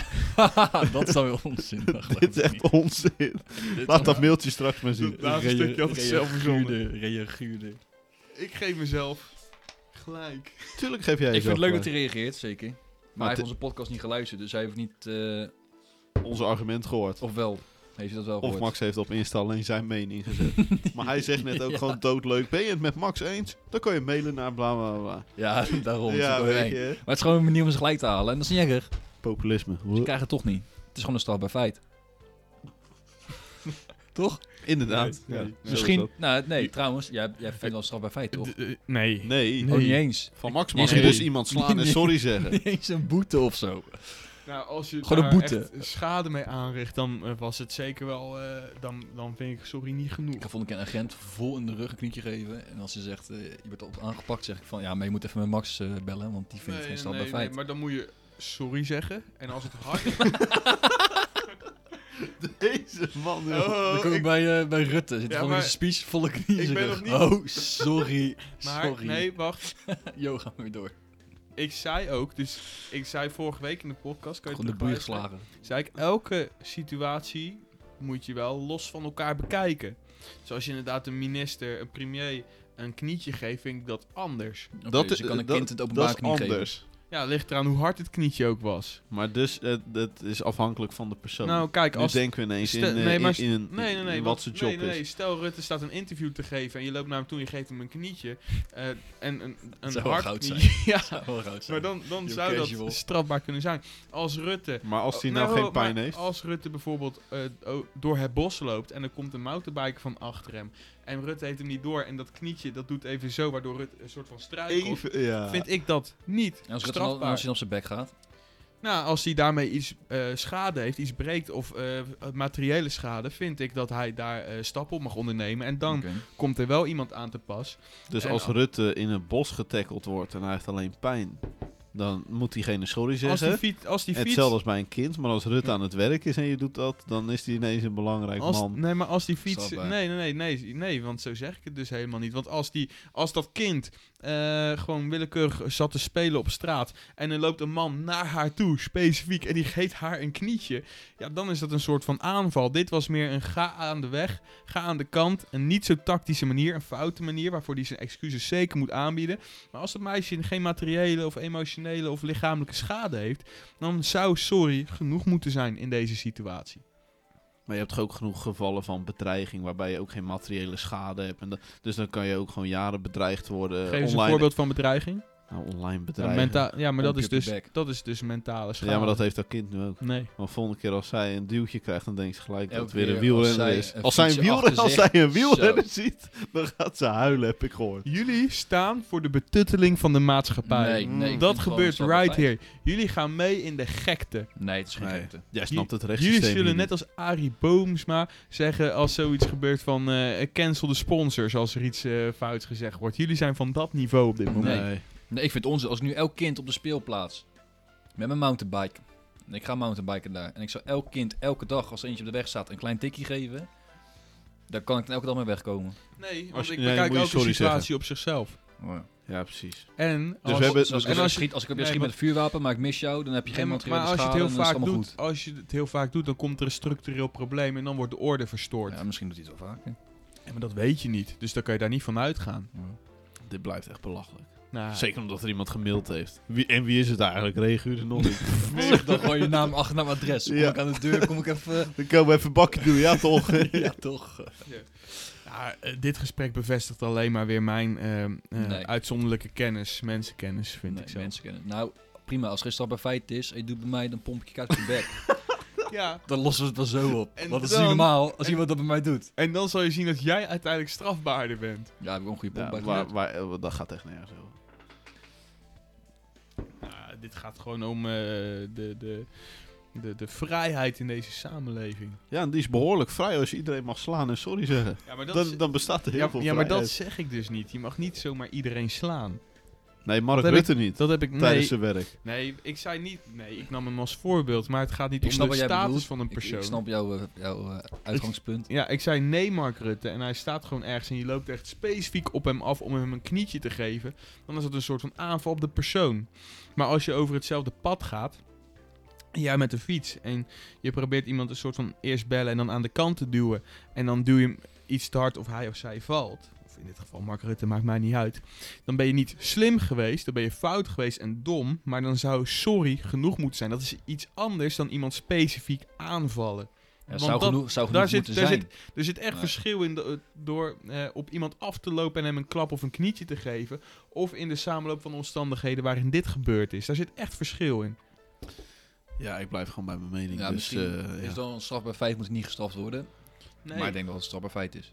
C: dat zou weer onzin. Dat geloof
B: dit is
C: ik
B: echt
C: niet.
B: onzin.
C: Dit
B: Laat
C: is
B: dat mailtje straks maar zien.
A: Dat laatste
C: Rea-
A: stukje had ik zelf verzonnen.
C: Reageerde. reageerde.
A: Ik geef mezelf gelijk.
B: Tuurlijk geef jij
C: Ik
B: jezelf
C: vind
B: eh,
C: het leuk dat hij
B: gelijk.
C: reageert, zeker. Maar, hij
B: het-
C: heeft onze podcast niet geluisterd, dus hij heeft niet... eh,
B: onze argument gehoord.
C: of wel, heeft hij dat wel
B: Of
C: gehoord.
B: Max heeft op Insta alleen zijn mening gezet. maar hij zegt net ook
C: Ja.
B: gewoon doodleuk. Ben je het met Max eens? Dan kan je mailen naar bla bla bla.
C: Ja, daarom. Ja,
B: ja,
C: maar
B: weet je.
C: het
B: hè?
C: is gewoon een manier om ze gelijk te halen. En dat is niet erg.
B: Populisme.
C: Ze krijgen het toch niet. Het is gewoon een strafbaar feit. toch?
B: Inderdaad.
A: Nee,
B: Ja.
A: nee.
B: Zo is
C: Misschien...
B: dat.
C: Nou, nee, trouwens. Jij, jij vindt wel een strafbaar feit, toch?
A: D- eh, nee.
B: Nee.
A: Nee.
C: Oh, niet eens.
B: Van Max mag
C: Nee.
B: je dus iemand slaan en
C: Nee.
B: sorry zeggen.
C: Niet eens een boete of zo.
A: Nou, als je
C: Gewoon een
A: daar
C: boete.
A: echt schade mee aanricht, dan eh, was het zeker wel... eh, dan, dan vind ik sorry niet genoeg.
C: Ik vond ik een agent vol in de rug een knietje geven. En als ze zegt, eh, je wordt op aangepakt, zeg ik van... Ja, maar je moet even met Max eh, bellen, want die vindt het geen strafbaar feit.
A: maar dan moet je sorry zeggen. En als het hard
B: Deze man. joh.
A: Oh,
C: Dan kom ik,
A: ik-
C: bij, eh, bij Rutte. Zit
A: Ja,
C: gewoon
A: maar-
C: een speech volle knieën in
A: Ik
C: zijn
A: ben
C: rug.
A: nog
C: Oh, sorry.
A: maar
C: sorry.
A: nee, wacht.
C: Yo, ga maar weer door.
A: Ik zei ook, dus ik zei vorige week in de podcast, kan je
C: Gewoon de boei
A: terugluisteren,
C: geslagen.
A: zei ik, elke situatie moet je wel los van elkaar bekijken. Dus als je inderdaad een minister, een premier een knietje geeft, vind ik dat anders.
C: dat, dus je
B: eh,
C: kan een
B: dat-
C: kind het openbaar
B: dat is
C: knie geven.
B: anders.
A: Ja, het ligt eraan hoe hard het knietje ook was.
B: Maar dus, eh, dat is afhankelijk van de persoon.
A: Nou, kijk,
B: nu
A: als...
B: denken we ineens in,
A: stel-
B: eh,
A: nee, maar
B: in,
A: st-
B: in een-
A: Nee, nee, nee.
B: in
A: want-
B: wat zijn job
A: nee, nee, nee.
B: is.
A: Stel, Rutte staat een interview te geven en je loopt naar hem toe en je geeft hem een knietje. eh, en een, een
C: zou wel
A: hard
C: goud
A: knietje. Ja,
C: Ja, wel goud zijn.
A: maar dan, dan
C: You're
A: zou
C: casual.
A: dat strafbaar kunnen zijn. Als Rutte
B: Maar als hij
A: Oh,
B: nou
A: nee,
B: geen
A: maar
B: pijn heeft.
A: Als Rutte bijvoorbeeld eh, o- door het bos loopt en er komt een mountainbiker van achter hem. En Rutte heeft hem niet door en dat knietje dat doet even zo, waardoor Rutte een soort van struikelt.
B: Even, ja.
A: Vind ik dat niet
C: En als, Rutte dan-
A: strafbaar.
C: als hij dan op zijn bek gaat.
A: Nou, als hij daarmee iets eh, schade heeft, iets breekt of eh, materiële schade, vind ik dat hij daar eh, stappen op mag ondernemen. En dan
C: Oké.
A: komt er wel iemand aan te pas.
B: Dus
A: En
B: als
A: al-
B: Rutte in het bos getackeld wordt en hij heeft alleen pijn, dan moet diegene sorry
A: Als
B: zeggen.
A: die fiets... Als die fiets
B: Hetzelfde als bij een kind, maar als Rutte aan het werk is en je doet dat, dan is hij ineens een belangrijk
A: Als,
B: man.
A: nee, maar als die fiets. Nee,
C: Strafbaar.
A: nee, nee, nee, nee, want zo zeg ik het dus helemaal niet. Want als, die, als dat kind eh, gewoon willekeurig zat te spelen op straat. en er loopt een man naar haar toe, specifiek. en die geeft haar een knietje. ja, dan is dat een soort van aanval. Dit was meer een ga aan de weg, ga aan de kant. een niet zo tactische manier, een foute manier. waarvoor hij zijn excuses zeker moet aanbieden. Maar als dat meisje geen materiële of emotionele of lichamelijke schade heeft. dan zou sorry genoeg moeten zijn in deze situatie.
B: Maar je hebt toch ook genoeg gevallen van bedreiging waarbij je ook geen materiële schade hebt. En da- dus dan kan je ook gewoon jaren bedreigd worden.
A: Geef eens een
B: online,
A: voorbeeld van bedreiging.
B: Nou, online
A: Ja,
B: bedreigen.
A: menta- ja maar dat
C: Pompje
A: is,
C: op je
A: dus,
C: bek.
A: dat is dus mentale schade.
B: ja, maar dat heeft dat kind nu ook.
A: Nee.
B: Want volgende keer als zij een duwtje krijgt, dan denkt ze gelijk dat het
C: Elke
B: weer een
C: keer als
B: wielrenner
C: zij
B: is.
C: een
B: Als zij, een
C: fietsje
B: wielrenner, als
C: achter
B: zij een
C: zich-
B: wielrenner ziet, dan gaat ze huilen, heb ik gehoord.
A: Jullie staan voor de betutteling van de maatschappij.
C: Nee, nee, ik
A: dat
C: vind het
A: gebeurt
C: gewoon een
A: right
C: strafbaar
A: here. Jullie gaan mee in de gekte.
C: feit. Nee, het is geen
B: Nee.
C: gekte.
B: Jij snapt het rechtssysteem
A: Jullie
B: hier
A: zullen net
B: niet.
A: als Arie Boomsma zeggen als zoiets gebeurt van eh, cancel de sponsors als er iets eh, fouts gezegd wordt. Jullie zijn van dat niveau op dit moment.
C: Nee. Nee, ik vind het onzin. Als ik nu elk kind op de speelplaats met mijn mountainbike. en Ik ga mountainbiken daar. En ik zou elk kind elke dag, als er eentje op de weg staat, een klein tikje geven. Daar kan ik dan elke dag mee wegkomen.
A: Nee,
B: Als
A: want
B: je-
A: ik
B: nee,
A: bekijk
B: moet je
A: ook de
B: sorry
A: situatie
B: zeggen.
A: op zichzelf.
B: Ja, precies.
A: En als,
B: we hebben-
C: Zoals
B: en
C: ik op jou
A: als je-
C: schiet, als ik
A: dus
C: op jou
A: nee,
C: schiet met een vuurwapen, maar ik mis jou, dan heb je geen
A: en- maar
C: materiële
A: als je het
C: schade
A: heel
C: en dan is
A: vaak
C: het allemaal
A: doet,
C: goed.
A: als je het heel vaak doet, dan komt er een structureel probleem en dan wordt de orde verstoord.
C: Ja, misschien doet hij het wel vaker.
A: Ja, maar dat weet je niet, dus dan kan je daar niet van uitgaan.
B: Dit blijft echt belachelijk.
A: Nou,
B: Zeker omdat er iemand gemaild heeft. Wie, en wie is het eigenlijk? Reaguurde nog niet.
C: Dan gooi je naam, achternaam, adres. Kom
B: Ja.
C: ik aan de deur, kom ik even...
B: Dan komen we even bakje doen, ja toch?
C: ja, toch.
A: ja, eh, dit gesprek bevestigt alleen maar weer mijn ehm, eh,
C: Nee.
A: uitzonderlijke kennis, mensenkennis, vind
C: Nee,
A: ik zo.
C: mensen kennen. Nou, prima. Als er geen stap bij feit is en je doet bij mij, dan pomp ik je uit je bek.
A: Ja,
C: Dan lossen we het wel zo op.
A: En
C: Want dat is
A: dan-
C: niet normaal als
A: en-
C: iemand dat bij mij doet.
A: en dan zal je zien dat jij uiteindelijk strafbaarder bent.
C: Ja, heb ik ook een goede
B: Ja,
C: pomp bij
B: maar,
C: geleerd.
B: maar, eh, dat gaat echt nergens over.
A: Nou, dit gaat gewoon om eh, de, de, de, de vrijheid in deze samenleving.
B: Ja, en die is behoorlijk vrij als je iedereen mag slaan en sorry zeggen.
A: Ja, maar
B: Dan, dan bestaat er heel
A: ja,
B: veel
A: ja, maar dat
B: vrijheid.
A: zeg ik dus niet. Je mag niet zomaar iedereen slaan.
B: Nee, Mark
A: dat heb ik-
B: Rutte niet.
A: Dat heb ik
B: Tijdens
A: nee,
B: zijn werk.
A: nee, ik zei niet. Nee, ik nam hem als voorbeeld, maar het gaat niet
C: Ik snap
A: om de
C: wat jij
A: status
C: bedoelt.
A: van een
C: Ik,
A: persoon.
C: ik snap jouw, eh, jouw eh, uitgangspunt.
A: Ja, ik zei nee, Mark Rutte. En hij staat gewoon ergens en je loopt echt specifiek op hem af om hem een knietje te geven. Dan is dat een soort van aanval op de persoon. Maar als je over hetzelfde pad gaat, en jij met de fiets, en je probeert iemand een soort van eerst bellen en dan aan de kant te duwen. En dan duw je hem iets te hard of hij of zij valt. Of in dit geval Mark Rutte, maakt mij niet uit. Dan ben je niet slim geweest, dan ben je fout geweest en dom. Maar dan zou sorry genoeg moeten zijn. Dat is iets anders dan iemand specifiek aanvallen.
C: Ja,
A: Want
C: zou,
A: dat-
C: genoeg, zou
A: daar
C: genoeg
A: zit-
C: moeten
A: daar
C: zijn.
A: Er zit echt
C: Ja.
A: verschil in de- door eh, op iemand af te lopen en hem een klap of een knietje te geven. Of in de samenloop van omstandigheden waarin dit gebeurd is. Daar zit echt verschil in.
B: Ja, ik blijf gewoon bij mijn mening.
C: ja,
B: dus,
C: misschien
B: eh, ja.
C: is dan een strafbaar feit moet niet gestraft worden. Maar ik denk wel dat het een strafbaar feit is.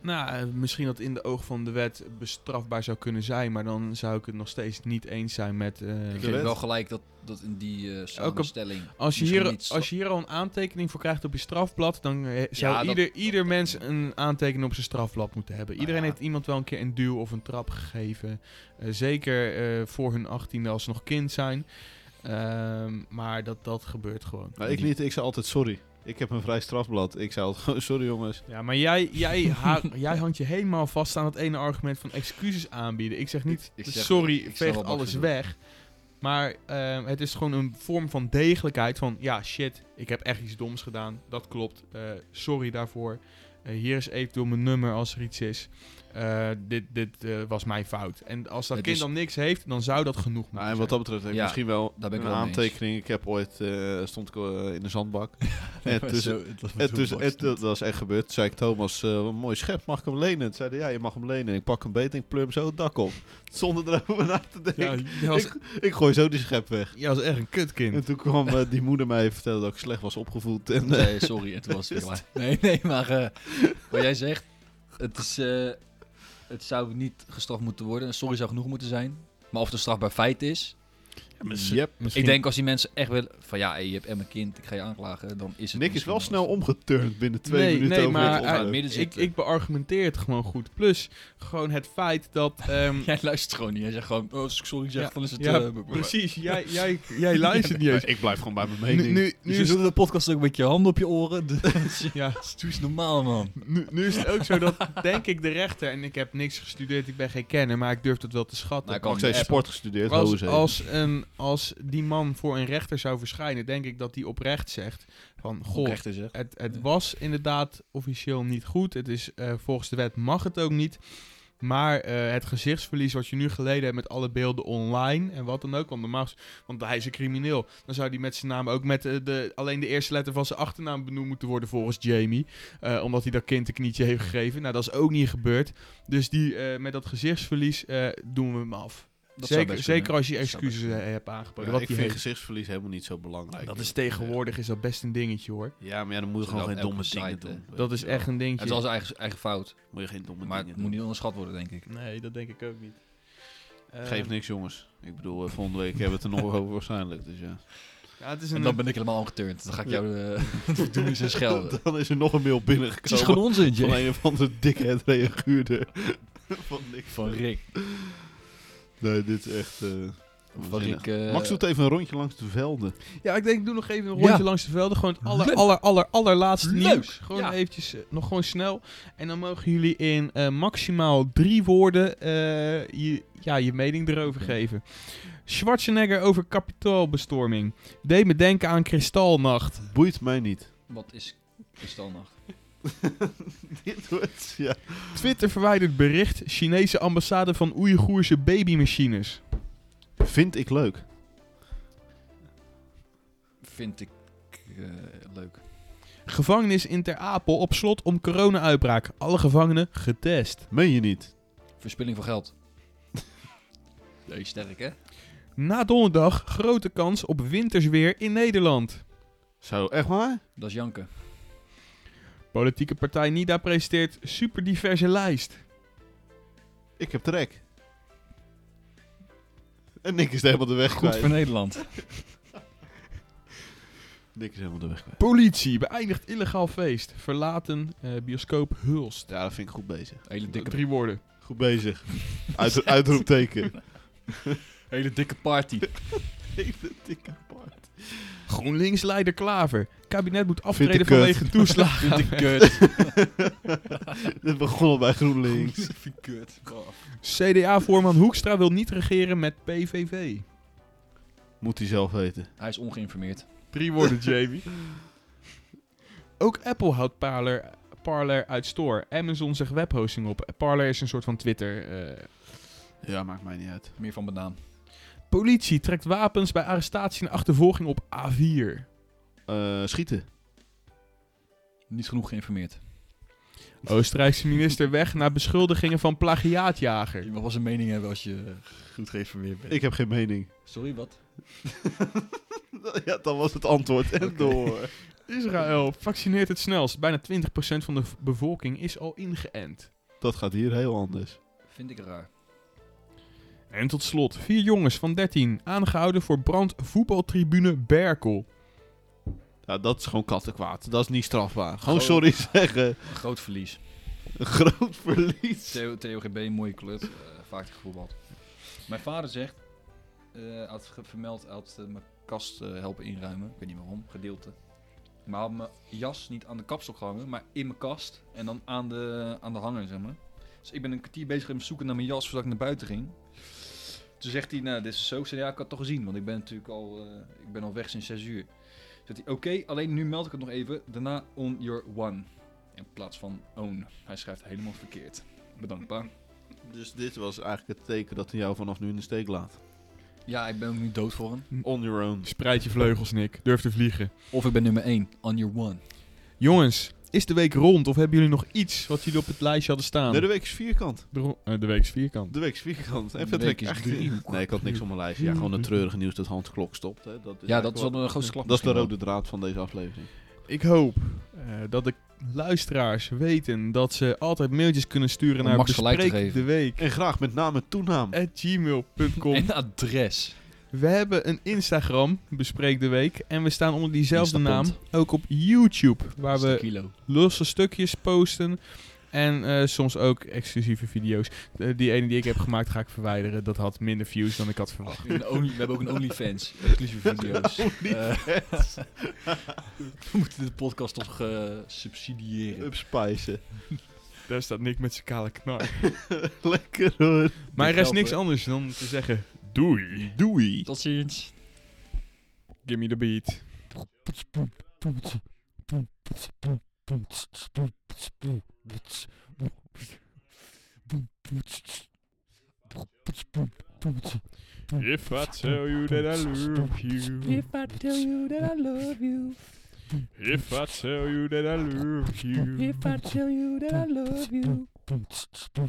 A: Nou, eh, misschien dat in de oog van de wet bestrafbaar zou kunnen zijn, maar dan zou ik het nog steeds niet eens zijn met. eh,
C: Ik
B: de
C: geef
B: wet.
C: wel gelijk dat, dat in die eh samenstelling...
A: als, je
C: misschien
A: hier,
C: niet stra-
A: als je hier al een aantekening voor krijgt op je strafblad, dan eh, zou
C: dat-
A: ieder,
C: dat-
A: ieder
C: dat-
A: mens een aantekening op zijn strafblad moeten hebben.
C: Nou
A: Iedereen
C: ja.
A: heeft iemand wel een keer een duw of een trap gegeven. Eh, zeker eh, voor hun 18e als ze nog kind zijn. Ehm, maar dat, dat gebeurt gewoon.
B: Maar ik niet, ik zei altijd sorry. Ik heb een vrij strafblad. Ik zei altijd gewoon sorry jongens.
A: Ja, maar jij, jij, ha- jij hangt je helemaal vast aan het ene argument van excuses aanbieden. Ik zeg niet,
C: Ik- ik zeg-
A: sorry,
C: ik snap
A: veeg
C: wat Max
A: alles
C: bedoelt.
A: weg. Maar ehm, het is gewoon een vorm van degelijkheid van, ja shit, ik heb echt iets doms gedaan. Dat klopt, Eh, sorry daarvoor. Eh, hier is eventueel mijn nummer als er iets is. Eh, dit dit eh, was mijn fout. En als dat
C: Het
A: kind
C: is-
A: dan niks heeft, dan zou dat genoeg
B: Nou,
A: moeten
B: en wat dat betreft heb ik
C: Ja,
B: misschien wel
C: daar ben ik
B: een
C: wel mee
B: aantekening. Ik heb ooit, eh, stond ik eh, in de zandbak. en tussen,
C: Zo, het was
B: en tussen, en
C: het,
B: dat was echt gebeurd. Toen zei ik, Thomas, eh, wat een mooi schep, mag ik hem lenen? Toen zei hij, ja, je mag hem lenen. Ik pak hem beet en ik pleur hem zo het dak op. Zonder erover na te denken.
A: zijn. Ja, jij was,
B: Ik gooi zo die schep weg.
A: jij was echt een kutkind.
B: En toen kwam eh, die moeder mij vertellen dat ik slecht was opgevoed. En, eh,
C: Nee, sorry, het was het weer klaar. Nee, nee, maar eh, wat jij zegt, het, is, eh, het zou niet gestraft moeten worden. Sorry zou genoeg moeten zijn. Maar of het een strafbaar feit is.
B: yep.
A: Misschien-
C: Ik denk als die mensen echt willen van ja, hey, je hebt en mijn kind, ik ga je aanklagen, dan is het
B: Nick is
C: misschien
B: wel snel omgeturnd binnen twee
A: Nee,
B: minuten.
A: nee,
B: over
A: maar
B: het
A: hij-
C: in het
B: onderwerp.
C: midden
A: Ik,
C: zitten.
A: ik beargumenteer het gewoon goed. Plus, gewoon het feit dat... ehm,
C: Jij luistert gewoon niet. Jij zegt gewoon, oh, als ik sorry zeg,
A: Ja,
C: dan is het...
A: ja,
C: eh, b- b-
A: Precies, jij, jij, jij luistert niet eens.
B: ik blijf gewoon bij
A: Nu,
B: mijn mening.
A: nu, nu,
C: Dus we
A: is,
C: doen de podcast ook met je handen op je oren. Dus,
A: ja,
C: doe eens normaal, man. Nou,
A: nu, nu is het ook zo dat, denk ik, de rechter... En ik heb niks gestudeerd, ik ben geen kenner, maar ik durf dat wel te schatten.
C: Nou, ik
B: ik heb
C: appen.
B: sport gestudeerd.
A: als,
B: hoze.
A: als, een, als die man voor een rechter zou verschijnen, denk ik dat die oprecht zegt van... Goh,
C: Oprechter zeg.
A: het, het
C: Ja.
A: was inderdaad officieel niet goed. Het is, eh, volgens de wet mag het ook niet. Maar eh, het gezichtsverlies wat je nu geleden hebt met alle beelden online en wat dan ook, want, normaal, ges- want hij is een crimineel. Dan zou die met zijn naam ook met eh, de, alleen de eerste letter van zijn achternaam benoemd moeten worden volgens Jamie. Eh, omdat hij dat kind een knietje heeft gegeven. Nou, dat is ook niet gebeurd. Dus die, eh, met dat gezichtsverlies eh, doen we hem af.
C: Dat zou
A: Zeker,
C: best kunnen.
A: zeker als je
C: Dat zou best
A: excuses
C: kunnen.
A: eh, hebt aangeboden.
B: Ja,
A: wat
B: ik
A: die
B: vind
A: heeft.
B: gezichtsverlies helemaal niet zo belangrijk.
A: Dat is tegenwoordig is dat best een dingetje hoor.
B: Ja, maar ja, dan moet je
C: Dat is
B: gewoon geen
C: wel
B: domme
C: elke
B: dingen
C: site,
B: doen. weet
A: Dat is
B: je wel.
A: echt een dingetje.
C: Het is wel zijn eigen, eigen fout.
B: Moet je geen domme
C: Maar het
B: dingen
C: moet
B: doen.
C: niet onderschat worden, denk ik.
A: Nee, dat denk ik ook niet.
B: Geef
A: niks.
B: niks, jongens. Ik bedoel, eh, volgende week hebben we het er nog wel over waarschijnlijk. Dus ja.
A: Eh, Ja, het is
C: En
A: een,
C: dan ben ik helemaal ongeturnd. Dan ga ik jou eh doen eens en schelden.
B: Dan is er nog een mail
C: Het is
B: binnengekomen.
C: gewoon onzin,
B: van
C: Jay.
B: een of andere dikhead reaguurde. van Nick.
C: Van Rick.
B: Nee, dit is echt... eh,
C: Van
B: waanzinnig.
C: Rick eh,
B: Max doet even een rondje langs de velden.
A: ja, ik denk, ik doe nog even een
C: Ja.
A: rondje langs de velden. Gewoon het aller,
C: Leuk.
A: aller, aller, allerlaatste
C: Leuk.
A: nieuws. Gewoon
C: Ja.
A: eventjes, eh, nog gewoon snel. En dan mogen jullie in eh, maximaal drie woorden eh, je, ja, je mening erover
C: Oké.
A: geven. Schwarzenegger over kapitaalbestorming. Deed me denken aan Kristalnacht.
B: Boeit mij niet.
C: Wat is kristalnacht?
B: dit wordt... Ja.
A: Twitter verwijdert bericht Chinese ambassade van Oeigoerse babymachines.
B: Vind ik leuk.
C: Vind ik eh, leuk.
A: Gevangenis in Ter Apel op slot om corona-uitbraak. Alle gevangenen getest.
B: Meen je niet?
C: Verspilling van geld. Jee, sterk, hè?
A: Na donderdag grote kans op wintersweer in Nederland.
B: Zo, echt waar?
C: Dat is janken.
A: Politieke partij NIDA presenteert superdiverse lijst.
B: Ik heb trek. En Nick is helemaal de weg
C: Goed
B: kwijt.
C: voor Nederland.
B: Nick is helemaal de weg kwijt.
A: Politie beëindigt illegaal feest. Verlaten eh, bioscoop Hulst.
B: Ja, dat vind ik goed bezig.
C: Hele dikke,
A: Drie woorden.
B: Goed bezig. Uit, uitroepteken.
C: hele dikke party.
B: Hele dikke paard.
A: GroenLinks-leider Klaver. Kabinet moet
B: Vind
A: aftreden
B: ik kut.
A: vanwege toeslagen.
C: Vind ik kut.
B: Dit begon al bij GroenLinks.
C: Vind ik kut. Oh.
A: CDA-voorman Hoekstra wil niet regeren met PVV.
B: Moet hij zelf weten.
C: Hij is ongeïnformeerd.
A: Drie woorden, Jamie. Ook Apple houdt parler- Parler uit Store. Amazon zegt webhosting op. Parler is een soort van Twitter. eh.
B: Ja, maakt mij niet uit.
C: Meer van banaan.
A: Politie trekt wapens bij arrestatie en achtervolging op A4.
B: Eh, schieten.
C: Niet genoeg geïnformeerd.
A: Oostenrijkse minister weg na beschuldigingen van plagiaatjager.
C: Je mag wel zijn mening hebben als je eh, goed geïnformeerd bent.
B: Ik heb geen mening.
C: Sorry, wat?
B: ja, dat was het antwoord. En door.
A: Israël vaccineert het snelst. Bijna 20% van de v- bevolking is al ingeënt.
B: Dat gaat hier heel anders.
C: Vind ik raar.
A: En tot slot, vier jongens van 13 aangehouden voor brand voetbaltribune Berkel.
B: Ja, dat is gewoon kattenkwaad. Dat is niet strafbaar. Gewoon
C: Gewoon-
B: sorry zeggen.
C: Een groot verlies.
B: Een groot verlies.
C: Theo, TOGB, mooie klut. eh, vaak gevoetbald. Mijn vader zegt, eh had ge- vermeld, had eh, mijn kast eh, helpen inruimen. Ik weet niet waarom, gedeelte. Maar had mijn jas niet aan de kapsel gehangen, maar in mijn kast. En dan aan de, aan de hanger, zeg maar. Dus ik ben een kwartier bezig met zoeken naar mijn jas voordat ik naar buiten ging. Toen zegt hij, nou, dit is zo. Ik zei, ja, ik had het toch gezien, want ik ben natuurlijk al, eh, ik ben al weg sinds 6 uur. Zegt hij, oké, alleen nu meld ik het nog even. Daarna on your one. In plaats van own. Hij schrijft helemaal verkeerd. Bedankt, pa.
B: Dus dit was eigenlijk het teken dat hij jou vanaf nu in de steek laat.
C: Ja, ik ben ook nu dood voor hem.
B: On your own.
A: Spreid je vleugels, Nick. Durf te vliegen.
C: Of ik ben nummer 1, on your one.
A: Jongens, is de week rond of hebben jullie nog iets wat jullie op het lijstje hadden staan?
B: Nee, de week is vierkant.
A: De, ro- eh, de week is vierkant.
B: De week is vierkant. En
C: De
B: verder
C: week
B: ik
C: is
B: echt niet.
C: driehoek.
B: Nee, ik had niks op mijn lijstje. Ja, gewoon het treurige nieuws dat Hans Klok stopt. Hè. Dat is
C: Ja, dat
B: eigenlijk
C: is
B: wel-
C: wel een grootste klap.
B: dat is de
C: misschien
B: rode draad van deze aflevering.
A: Ik hoop eh, dat de luisteraars weten dat ze altijd mailtjes kunnen sturen
C: Om
A: naar
C: Max gelijk te
A: bespreek
C: geven.
A: de week
B: En graag met naam en toenaam.
C: wel.
A: gmail.com.
C: En adres.
A: We hebben een Instagram, Bespreek de Week. En we staan onder diezelfde naam
C: Instapont.
A: ook op YouTube. Waar
C: Dat is de
A: we
C: kilo.
A: losse stukjes posten. En eh, soms ook exclusieve video's. Eh, die ene die ik heb gemaakt ga ik verwijderen. Dat had minder views dan ik had verwacht.
C: Een only- we hebben ook een OnlyFans. Exclusieve video's. Eh, we moeten de podcast toch eh, subsidiëren.
B: Upspicen.
A: Daar staat Nick met zijn kale knar.
B: Lekker hoor.
A: Maar er is
C: Helpen.
A: niks anders dan te zeggen... Doei.
B: Doei.
C: Tot ziens.
A: Give me the beat. If I tell you that I love you,
D: If I tell you that I love you,
A: if I tell you that I love you,
D: if I tell you that I love you.